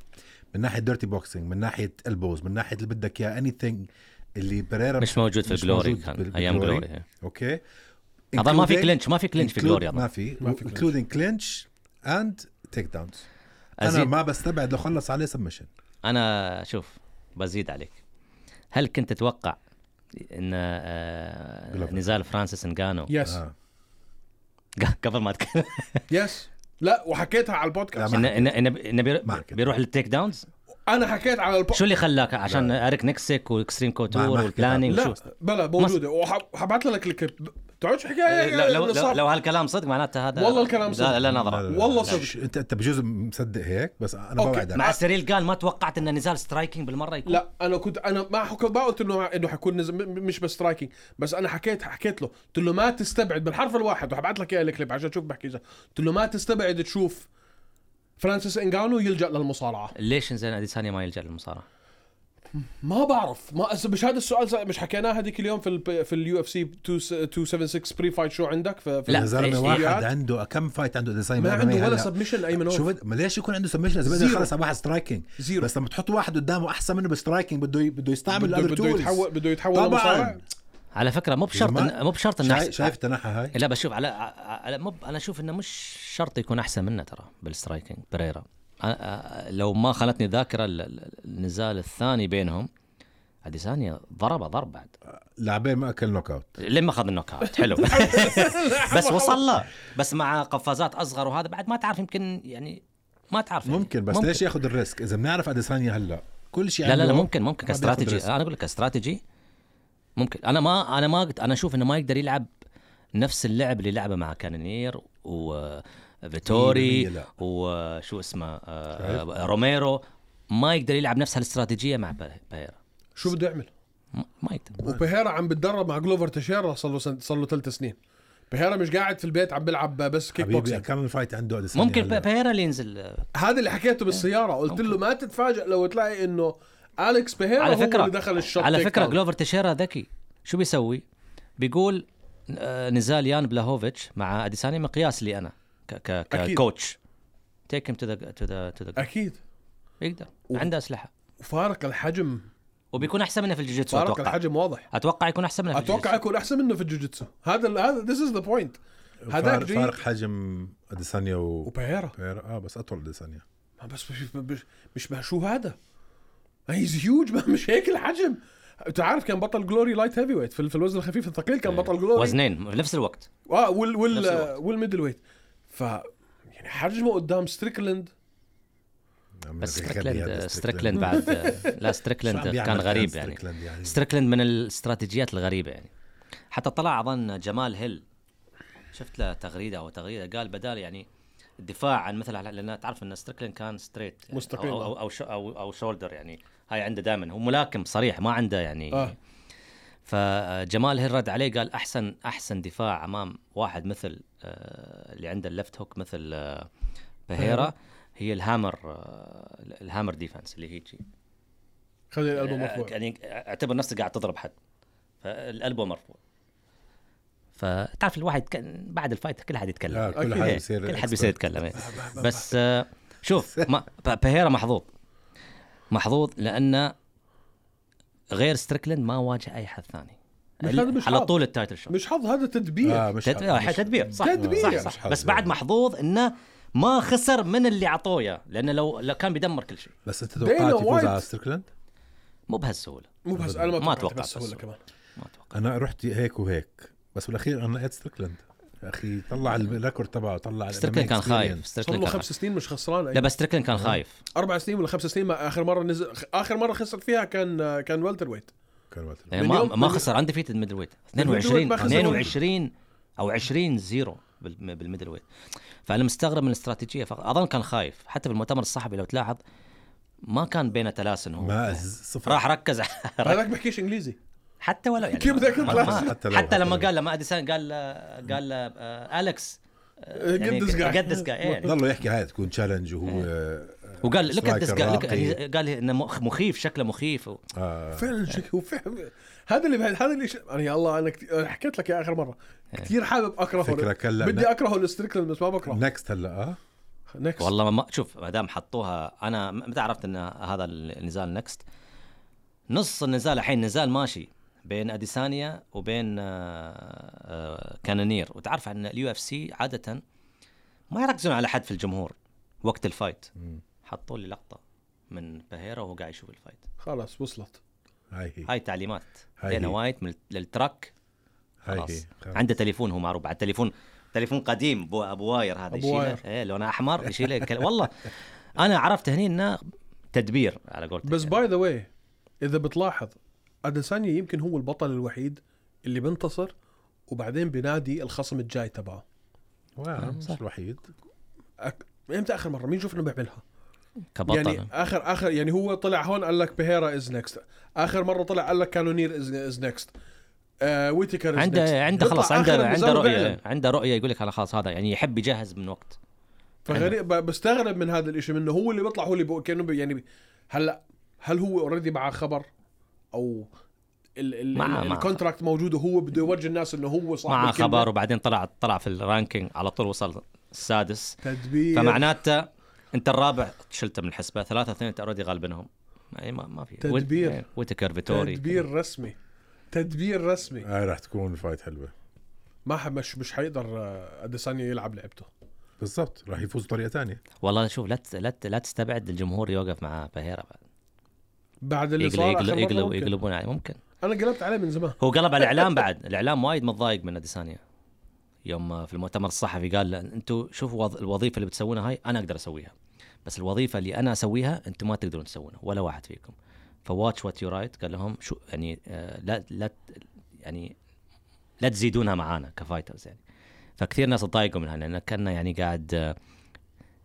S3: من ناحيه ديرتي بوكسينج من ناحيه البوز من ناحيه اللي بدك اياه اني ثينج اللي بريرا
S4: مش موجود في جلوري
S3: موجود
S4: كان
S3: بال-
S4: ايام
S3: بالجلوري.
S4: جلوري
S3: اوكي
S4: اظن ما في
S3: Including-
S4: كلينش ما في كلينش في
S3: include-
S4: جلوري
S3: ما
S4: اظن
S3: في
S2: ما في clinch.
S3: انكلودينج كلينش اند تيك داونز انا
S4: أزيد-
S3: ما بستبعد لو خلص عليه سبمشن
S4: انا شوف بزيد عليك هل كنت تتوقع ان آه،
S3: Glover.
S4: نزال فرانسيس انجانو
S3: آه.
S2: يس
S4: قبل ما اتكلم
S2: يس لا وحكيتها على البودكاست
S4: انه إنه- إنه- إنه بيرو-
S3: ما حكيت.
S4: بيروح للتيك داونز
S2: انا حكيت على البودكاست
S4: شو اللي خلاك عشان اريك نكسك واكستريم
S3: ما- ما
S4: كوتور
S3: حكيت
S4: والبلانينج
S2: لا
S4: شو
S2: بلا موجوده وح- وحبعت لك الكليب ب- تقعدش
S3: إيه،
S2: حكايه
S4: لو لو, لو, لو هالكلام صدق معناته هذا
S2: والله الكلام صدق.
S4: لا لا نظره
S3: لا، لا،
S2: والله
S3: لا.
S2: صدق.
S3: انت انت بجوز مصدق هيك بس انا
S2: أوكي.
S3: بوعدك
S4: مع السريل قال ما توقعت ان نزال سترايكنج بالمره يكون
S2: لا انا كنت انا ما حكيت ما قلت انه انه حيكون نز- م- م- مش بسترايكنج بس انا حكيت حكيت له قلت له ما تستبعد بالحرف الواحد وحبعت لك اياه الكليب عشان تشوف بحكي اذا قلت له ما تستبعد تشوف فرانسيس انجانو يلجا للمصارعه
S4: ليش زين اديسانيا ما يلجا للمصارعه؟
S2: ما بعرف ما أس- مش هذا السؤال س- مش حكيناه هذيك اليوم في ال في اليو اف سي 276 بري فايت شو عندك في في
S4: لا،
S3: يا زلمه
S4: إيش-
S3: واحد
S2: إياد؟
S3: عنده كم فايت عنده ديزاين
S2: ما عنده ولا سبمشن ايمن
S3: شوف
S2: شوف
S3: ما ليش يكون عنده سبمشن اذا بده
S2: زيرو.
S3: يخلص على واحد سترايكنج
S2: زيرو.
S3: بس لما تحط واحد قدامه احسن منه بالسترايكنج بده ي- بده يستعمل
S2: بده,
S3: الأذر
S2: بده
S3: tools.
S2: يتحول بده يتحول
S3: طبعا
S2: لمصارع
S4: على فكره مو بشرط إن- مو بشرط انه
S3: شايف,
S4: أحسن-
S3: شايف التنحى هاي
S4: لا بشوف على على مو ب- انا اشوف انه مش شرط يكون احسن منه ترى بالسترايكنج بريرا أنا- أ- لو ما خانتني ذاكره ال- ال- النزال الثاني بينهم اديسانيا ضربه ضرب بعد
S3: لاعبين ما اكل نوك اوت
S4: لما اخذ النوك اوت حلو بس وصل له بس مع قفازات اصغر وهذا بعد ما تعرف يمكن يعني ما تعرف يعني.
S3: ممكن بس ليش ياخذ الريسك اذا بنعرف اديسانيا هلا كل شيء
S4: لا لا لا
S3: عنده
S4: ممكن ممكن
S3: يعني ما بياخد
S4: كاستراتيجي
S2: آه.
S3: ريسك.
S4: انا اقول لك كاستراتيجي ممكن انا ما انا ما قد- انا اشوف انه ما يقدر يلعب نفس اللعب اللي لعبه مع كانونير و
S3: مية
S4: فيتوري
S3: لا.
S4: وشو اسمه آه، روميرو ما يقدر يلعب نفس هالاستراتيجيه مع با- بايرا
S2: شو بده يعمل
S4: ما- ما يقدر
S2: وبهيرا عم بتدرب مع جلوفر تشيرا صار له سن- صار له ثلاث سنين بهيرا مش قاعد في البيت عم بيلعب بس كيك
S3: حبيبي
S2: بوكسينج
S3: كم فايت عنده اديسانيا
S4: ممكن
S3: هلا؟
S4: با- بايرا اللي ينزل
S2: هذا اللي حكيته بالسياره قلت له ما تتفاجئ لو تلاقي انه اليكس بهيرا أيوة،
S4: على
S2: هو اللي
S4: فكره
S2: دخل الشوط
S4: على
S2: تيك
S4: فكره
S2: داون.
S4: جلوفر تشيرا ذكي شو بيسوي؟ بيقول آه، نزال يان بلاهوفيتش مع اديساني مقياس لي انا ك ك
S2: أكيد.
S4: ككوتش تيك تو ذا تو ذا تو ذا
S2: اكيد
S4: يقدر عنده اسلحه
S2: وفارق الحجم
S4: وبيكون احسن منه في الجوجيتسو
S2: فارق
S4: اتوقع
S2: الحجم واضح
S4: اتوقع يكون احسن منه في
S2: اتوقع
S4: الجوجيتسو.
S2: يكون احسن منه في الجوجيتسو هذا ال- هذا ذيس از ذا بوينت هذاك
S3: فارق,
S2: جي-
S3: فارق حجم اديسانيا و
S2: وبيرا
S3: بيرا. اه بس اطول اديسانيا
S2: ما بس مش مش, مش ما شو هذا هيز هيوج ما مش هيك الحجم انت عارف كان بطل جلوري لايت هيفي ويت في ال- في الوزن الخفيف الثقيل كان بطل جلوري
S4: وزنين في نفس الوقت
S2: اه وال وال
S4: نفس الوقت.
S2: والميدل ويت ف يعني حجمه قدام ستريكلند
S3: عم
S4: بس
S3: بيغني هذا
S4: ستريكلند ستريكلند بعد لا
S3: شو عم
S4: ستريكلند
S3: بيعمل
S4: كان غريب يعني
S3: ستريكلاند يعني
S4: ستريكلند من الاستراتيجيات الغريبه يعني حتى طلع اظن جمال هيل شفت له تغريده او تغريده قال بدال يعني الدفاع عن مثل لان تعرف ان ستريكلند كان ستريت يعني
S2: مستقيم.
S4: او او او, شو- أو, أو شولدر يعني هاي عنده دائما هو ملاكم صريح ما عنده يعني
S2: آه.
S4: فجمال هيل رد عليه قال احسن احسن دفاع امام واحد مثل آه، اللي عنده اللفت هوك مثل آه، بهيرا هي الهامر آه، الهامر ديفنس اللي هي شي.
S2: خلي القلب
S4: آه،
S2: مرفوع
S4: يعني اعتبر نفسك قاعد تضرب حد فالالبو مرفوع فتعرف الواحد كان بعد الفايت كل حد يتكلم
S3: آه، كل
S2: أكيد.
S3: حد
S4: إيه،
S3: بيصير
S4: كل حد
S3: expert.
S4: بيصير يتكلم إيه. بس آه، شوف ما ب- بهيرا محظوظ محظوظ لانه غير ستريكلند ما واجه اي حد ثاني
S2: مش
S4: ال-
S2: هذا مش
S4: على
S2: حظ.
S4: طول التايتل شوت
S2: مش حظ هذا تدبير
S3: آه
S2: آه.
S3: مش
S4: تد- آه،
S3: حظ.
S4: تدبير صح
S2: تدبير.
S4: صح
S3: مش
S4: صح
S3: حظ.
S4: بس بعد محظوظ انه ما خسر من اللي عطوه اياه لانه لو لو كان بيدمر كل شيء
S3: بس انت
S2: دينا
S3: توقعت يفوز
S2: وايت.
S3: على ستريكلاند؟
S4: مو بهالسهوله
S2: مو بس انا ما
S4: ما
S2: توقعت
S4: أتوقع
S2: بس ولا
S4: بس.
S2: كمان
S4: ما اتوقع
S3: انا رحت هيك وهيك بس بالاخير انا لقيت ستريكلاند يا اخي طلع الريكورد تبعه طلع
S4: ستريكلند كان
S3: الMMA experience.
S4: خايف
S2: صار
S4: ستريكلند
S2: له
S4: كان
S2: خمس
S4: خايف
S2: سنين مش خسران
S4: لا
S2: أي.
S4: بس ستريكلند كان خايف
S2: اربع سنين ولا خمس سنين ما اخر مره نزل اخر مره خسر فيها كان كان والتر ويت
S3: كان وقت
S4: يعني
S2: من
S4: ما
S2: يوم- طيب.
S4: ما
S2: من-
S4: خسر عندي فيت الميدل ويت
S2: ويت
S4: 22
S2: طيب. ما خسر.
S4: 22 او 20 زيرو بال- بالميدل ويت فانا مستغرب من الاستراتيجيه فقط اظن كان خايف حتى في المؤتمر الصحفي لو تلاحظ ما كان بينه تلاسن هو
S3: ما صفر
S4: راح ركز على-
S2: هذاك بحكيش انجليزي
S4: حتى ولو يعني
S2: كيف بدك
S4: ما-
S2: تلاسن؟
S4: ما-
S3: حتى لو-
S4: حتى لما
S3: حتى لو.
S4: قال لما اديسان قال قال آه، اليكس آه، يعني
S2: قد this guy.
S4: قد جاي
S3: ضلوا يحكي هاي تكون تشالنج وهو
S4: إيه. وقال لك
S3: striker راقي.
S4: قال انه مخ- مخيف شكله مخيف و-
S3: آه،
S2: فعلا شك هو فعلا هذا اللي بهد- هذا اللي ش... انا يا الله انا كت... أنا حكيت لك يا اخر مره
S4: إيه.
S2: كثير حابب اكرهه
S3: فكرة كلا.
S2: بدي اكرهه الستريكلند بس ما بكرهه
S3: نكست هلا اه
S2: نكست
S4: والله ما شوف ما دام حطوها انا متى عرفت ان هذا النزال نكست نص النزال الحين نزال ماشي بين اديسانيا وبين آه، آه، كانونير وتعرف ان اليو اف سي عاده ما يركزون على حد في الجمهور وقت الفايت
S3: مم.
S4: حطوا لي لقطه من بهيرا وهو قاعد يشوف الفايت
S2: خلاص وصلت
S3: هاي هي
S4: هاي تعليمات
S3: هاي
S4: دينا
S3: هي.
S4: وايت من للتراك
S3: هاي هي
S4: خلاص
S3: خلاص.
S4: عنده تليفون هو معروف بعد تليفون تليفون قديم بو ابو واير هذا
S2: أبو
S4: يشيله
S2: واير.
S4: ايه لونه احمر يشيله يتكلم. والله انا عرفت هني انه تدبير على قولتك
S2: بس باي ذا واي اذا بتلاحظ اديسانيا يمكن هو البطل الوحيد اللي بينتصر وبعدين بينادي الخصم الجاي تبعه
S3: واو، مش الوحيد
S2: أك... امتى اخر مره مين شفنا بيعملها
S4: كبطل
S2: يعني اخر اخر يعني هو طلع هون قال لك بهيرا از نكست اخر مره طلع قال لك كانونير از نكست آه ويتكر is next.
S4: عنده عنده
S2: بيطلع
S4: خلاص
S2: آخر
S4: عنده عنده
S2: النزال
S4: رؤيه
S2: وبيعلن.
S4: عنده رؤيه يقول لك انا خلاص هذا يعني يحب يجهز من وقت
S2: فغريب
S4: يعني.
S2: ب- بستغرب من هذا الاشي منه هو اللي بيطلع هو اللي بي- كانه بي- يعني بي- هلا هل هو اوريدي معه خبر او ال ال
S4: معه- معه.
S2: الكونتراكت موجود وهو بده يورجي الناس انه هو صاحب
S4: مع
S2: الكلمة؟
S4: خبر وبعدين طلع طلع في الرانكينج على طول وصل السادس
S2: تدبير
S4: فمعناته انت الرابع شلته من الحسبه ثلاثه اثنين انت اوريدي غالبنهم يعني ما ما في ويت-
S2: تدبير.
S4: ويتكر فيتوري
S2: تدبير رسمي تدبير رسمي
S3: هاي آه، راح تكون فايت حلوه
S2: ما ح- مش مش حيقدر آه، اديسانيا يلعب لعبته
S3: بالضبط راح يفوز بطريقه ثانيه
S4: والله شوف لا تس- لا ت- لا تستبعد الجمهور يوقف مع بهيرا بعد
S2: بعد اللي
S4: يقلب
S2: صار آخر
S4: يقلب
S2: مرة
S4: يقلب
S2: ممكن.
S4: يقلبون عليه ممكن
S2: انا قلبت عليه من زمان
S4: هو قلب على الاعلام بعد الاعلام وايد متضايق من اديسانيا يوم في المؤتمر الصحفي قال انتم شوفوا وظ- الوظيفه اللي بتسوونها هاي انا اقدر اسويها بس الوظيفه اللي انا اسويها انتم ما تقدرون تسوونها ولا واحد فيكم فواتش وات يو رايت قال لهم شو يعني آه، لا لا ت- يعني لا تزيدونها معانا كفايترز يعني فكثير ناس تضايقوا منها لانه كانه يعني قاعد آه،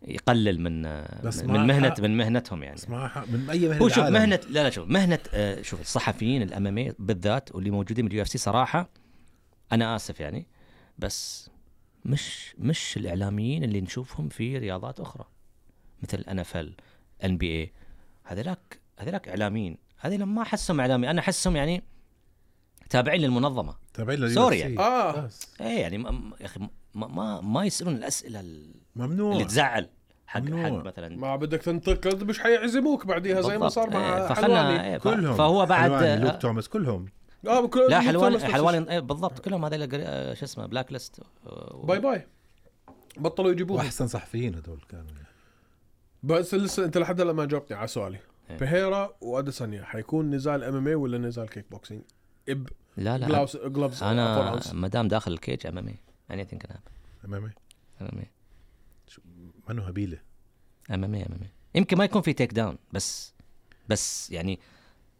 S4: يقلل من آه،
S3: بس
S4: من
S3: معاه
S4: من مهنه
S3: حق.
S4: من مهنتهم يعني
S3: بس معها حق من اي مهنه
S4: هو شوف
S3: بالعالم.
S4: مهنه لا لا شوف مهنه آه، شوف الصحفيين الامامي بالذات واللي موجودين باليو اف سي صراحه انا اسف يعني بس مش مش الاعلاميين اللي نشوفهم في رياضات اخرى مثل ان اف ال ان بي اي هذولاك هذولاك اعلاميين هذول ما احسهم اعلامي انا احسهم يعني تابعين إيه يعني، للمنظمه
S3: تابعين لل
S4: سوريا.
S3: UFC.
S2: آه.
S3: بس.
S4: اي يعني ما- ما- يا اخي ما- ما ما يسالون الاسئله ال-
S3: ممنوع
S4: اللي تزعل حق
S3: ممنوع.
S4: حق مثلا
S2: ما بدك تنتقد مش حيعزموك بعديها زي ما
S4: بالضبط.
S2: صار
S4: إيه،
S2: مع
S4: فخلنا
S2: حلواني
S4: إيه، ف-
S3: كلهم
S4: فهو بعد
S3: حلواني
S4: آه،
S3: لوك توماس كلهم
S2: اه بكل-
S4: لا
S2: بكل
S4: حلوان
S2: نفس الشيء.
S4: حلوان إيه، بالضبط كلهم هذول قر- آه، شو اسمه بلاك ليست آه،
S2: باي باي بطلوا يجيبوه
S3: واحسن صحفيين هذول كانوا
S2: بس لسه انت لحد هلا ما جاوبتني على سؤالي
S4: إيه.
S2: بيهيرا واديسانيا حيكون نزال ام ام اي ولا نزال كيك بوكسينج؟ اب
S4: لا لا
S2: جلاوز جلوفز
S4: انا ما دام داخل الكيج امامي اني ثينك
S3: امامي
S4: امامي
S3: منو هبيله
S4: امامي امامي يمكن ما يكون في تيك داون بس بس يعني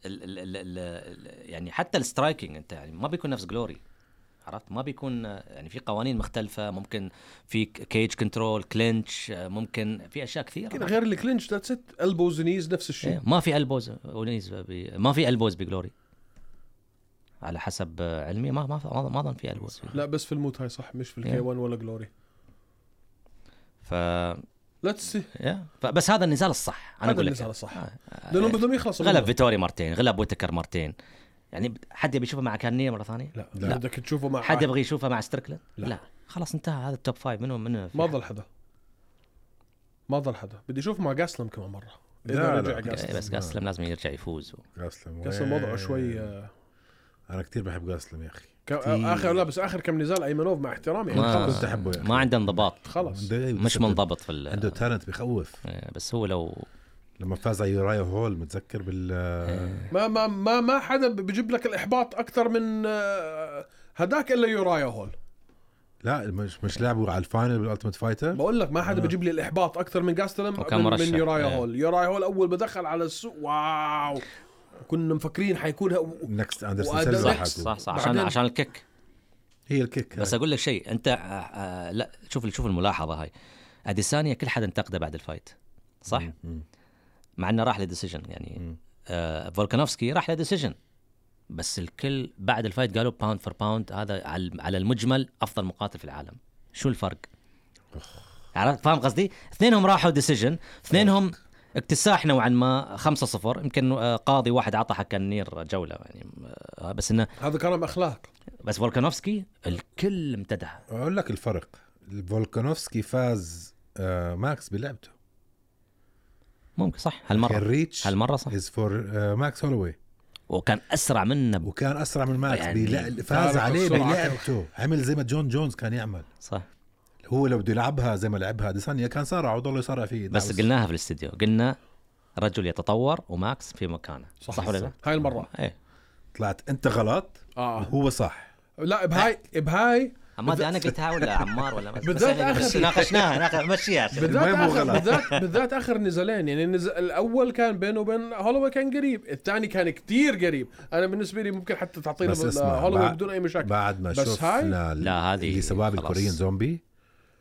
S4: ال ال ال ال ال يعني حتى السترايكنج انت يعني ما بيكون نفس جلوري عرفت ما بيكون آه، يعني في قوانين مختلفه ممكن في كيج كنترول كلينش آه، ممكن في اشياء
S2: يمكن
S4: كثيره
S2: غير الكلينش ذاتس ات البوز نيز نفس الشيء
S4: إيه، ما في البوز ونيز ب- ما في البوز بجلوري على حسب آه، علمي ما ما ما ما اظن في البوز
S2: لا بس في الموت هاي صح مش في
S4: إيه.
S2: الكي 1 ولا جلوري
S4: ف
S2: ليتس سي
S4: يا فبس هذا النزال الصح انا
S2: هذا
S4: اقول لك
S2: النزال الصح.
S4: آه.
S2: لانهم بدهم يخلصوا
S4: غلب
S2: منه.
S4: فيتوري مرتين غلب ويتكر مرتين يعني حد يبي يشوفه مع كارنيه مره ثانيه
S2: لا
S3: لا.
S2: بدك تشوفه مع
S4: حد يبغى يشوفه مع ستريكلاند
S2: لا.
S4: لا. لا خلاص انتهى هذا التوب فايف منهم منهم في
S2: ما
S4: أحد.
S2: ضل حدا ما ضل حدا بدي اشوف مع جاسلم كمان مره
S3: لا،
S2: اذا رجع
S3: لا.
S4: إيه،
S2: جاسلم
S4: بس قاسلم لازم يرجع يفوز و...
S3: قاسلم
S2: جاسلم
S3: وين؟
S2: وضعه شوي آه،
S3: انا كثير بحب قاسلم يا اخي
S2: ك- اخر لا بس اخر كم نزال ايمنوف مع احترامي يعني
S4: ما
S2: خلص
S3: كنت أحبه يا أخي.
S4: ما عنده انضباط
S2: خلص
S3: عنده-
S4: مش منضبط في
S3: عنده
S4: ال...
S3: تالنت بخوف
S4: إيه، بس هو لو
S3: لما فاز على يورايا هول متذكر بال
S4: إيه،
S2: ما ما ما ما حدا بيجيب لك الاحباط اكثر من آه، هداك الا يورايا هول
S3: لا مش مش لعبوا على الفاينل بالالتيميت فايتر
S2: بقول لك ما حدا بيجيب لي الاحباط اكثر من جاستلم
S4: وكان
S2: من,
S4: آه. مرشح.
S2: من يورايا
S4: إيه.
S2: هول يورايا هول اول ما دخل على السوق واو كنا مفكرين حيكون ه-
S3: نكست
S2: وأداء
S3: اندرسون
S2: نكست.
S3: سيلفا
S4: صح
S3: حقه.
S4: صح, صح عشان
S2: بعدين-
S4: عشان الكيك
S3: هي الكيك
S4: بس اقول لك شيء انت آه، آه، لا شوف شوف الملاحظه هاي اديسانيا كل حد انتقده بعد الفايت صح؟ مع انه راح لديسيجن يعني آه فولكانوفسكي راح لديسيجن بس الكل بعد الفايت قالوا باوند فور باوند هذا على على المجمل افضل مقاتل في العالم شو الفرق؟ عرفت فاهم قصدي؟ اثنينهم راحوا ديسيجن اثنينهم اكتساح نوعا ما 5-0 يمكن آه، قاضي واحد عطى حق النير جوله يعني آه، بس انه
S2: هذا كرم اخلاق
S4: بس فولكانوفسكي الكل امتدح
S3: اقول لك الفرق فولكانوفسكي فاز آه، ماكس بلعبته
S4: ممكن صح هالمره
S3: الريتش
S4: هالمره صح
S3: از فور آه، ماكس هولوي
S4: وكان اسرع منا ب-
S3: وكان اسرع من ماكس
S4: يعني
S3: بلا- فاز
S2: تعرف
S3: عليه
S2: السرعة
S3: بلعبته عمل زي ما جون جونز كان يعمل
S4: صح
S3: هو لو بده يلعبها زي ما لعبها ديسانيا كان صارع وضل يصارع فيه
S4: بس
S3: دعوس.
S4: قلناها في الاستديو قلنا رجل يتطور وماكس في مكانه صح, صح ولا لا؟
S2: هاي المره
S4: ايه
S3: طلعت انت غلط
S2: اه
S3: وهو صح
S2: لا بهاي بهاي
S4: ما ادري انا قلتها ولا عمار ولا بس,
S2: بالذات
S4: أنا- بس
S2: آخر-
S4: ناقشناها ناقش- مشيها عشان-
S2: بالذات
S3: المهم هو
S2: آخر
S3: غلط.
S2: بالذات بالذات اخر نزالين يعني النز... الاول كان بينه وبين هولوي كان قريب، الثاني كان كتير قريب، انا بالنسبه لي ممكن حتى تعطينا
S3: بس
S2: بال-
S3: اسمع
S2: هولوي
S3: بعد-
S2: طيب، بدون اي مشاكل
S3: بعد ما
S2: بس هاي-
S3: شفنا ال-
S4: لا، هذه
S3: اللي سباب
S4: خلاص.
S3: الكوريين زومبي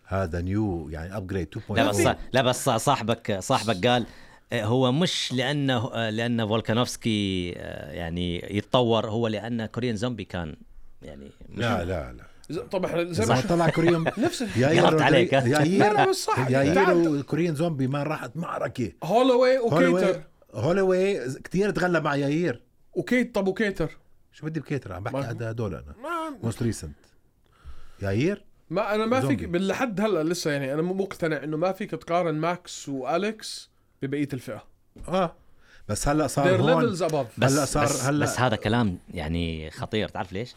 S3: هذا نيو يعني ابجريد 2.0
S4: لا بس لا بس صاحبك صاحبك قال آه، هو مش لانه آه، لان فولكانوفسكي آه، يعني يتطور هو لان كوريان زومبي كان يعني مش
S3: لا لا لا
S2: ز- طب احنا زي ما
S3: اذا
S2: شفنا
S3: طلع كوريين
S2: نفس
S3: يا
S4: قلبت
S3: رودري-
S4: عليك، ها؟
S3: يا
S2: لا،
S3: يير
S2: لا، بس صح.
S3: يا
S2: تعال-
S3: يير والكوريين زومبي ما راحت معركه
S2: هولوي
S3: هولوي
S2: وكيتر
S3: هولوي كثير تغلب مع ياير
S2: وكيت طب وكيتر
S3: شو بدي بكيتر عم بحكي
S2: ما-
S3: هذا هدول انا
S2: ما
S3: موست ريسنت ياير
S2: ما انا ما فيك
S3: زومبي.
S2: لحد هلا لسه يعني انا مو مقتنع انه ما فيك تقارن ماكس واليكس ببقيه الفئه.
S3: اه بس هلا صار
S2: They're
S3: آه، هون
S2: levels above.
S4: بس
S3: هلا صار-
S4: بس,
S3: هلا-
S4: بس هذا كلام يعني خطير تعرف ليش؟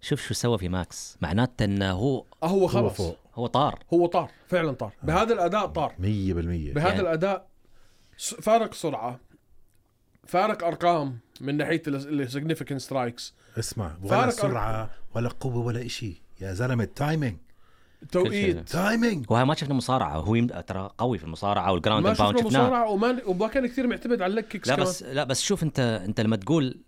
S4: شوف شو سوى في ماكس معناته انه هو
S2: آه، هو
S3: هو
S2: خلص
S3: فوق آه.
S4: هو طار
S2: هو طار فعلا طار بهذا الاداء طار
S3: 100% بهذا
S2: بهذا
S4: يعني-
S2: الاداء س- فارق سرعه فارق ارقام من ناحيه السيجنفكنت سترايكس
S3: اسمع
S2: فارق
S3: ولا سرعه ولا قوه ولا إشي يا زلمه التايمينج
S2: توقيت
S3: تايمينج
S4: وهي ما شفنا مصارعه هو يم- ترى قوي في المصارعه والجراوند
S2: ما
S4: اند باوند
S2: شفنا
S4: شفناه
S2: مصارعه وما وما كان كثير معتمد على الليج كيكس
S4: لا
S2: كمان.
S4: بس لا بس شوف انت انت لما تقول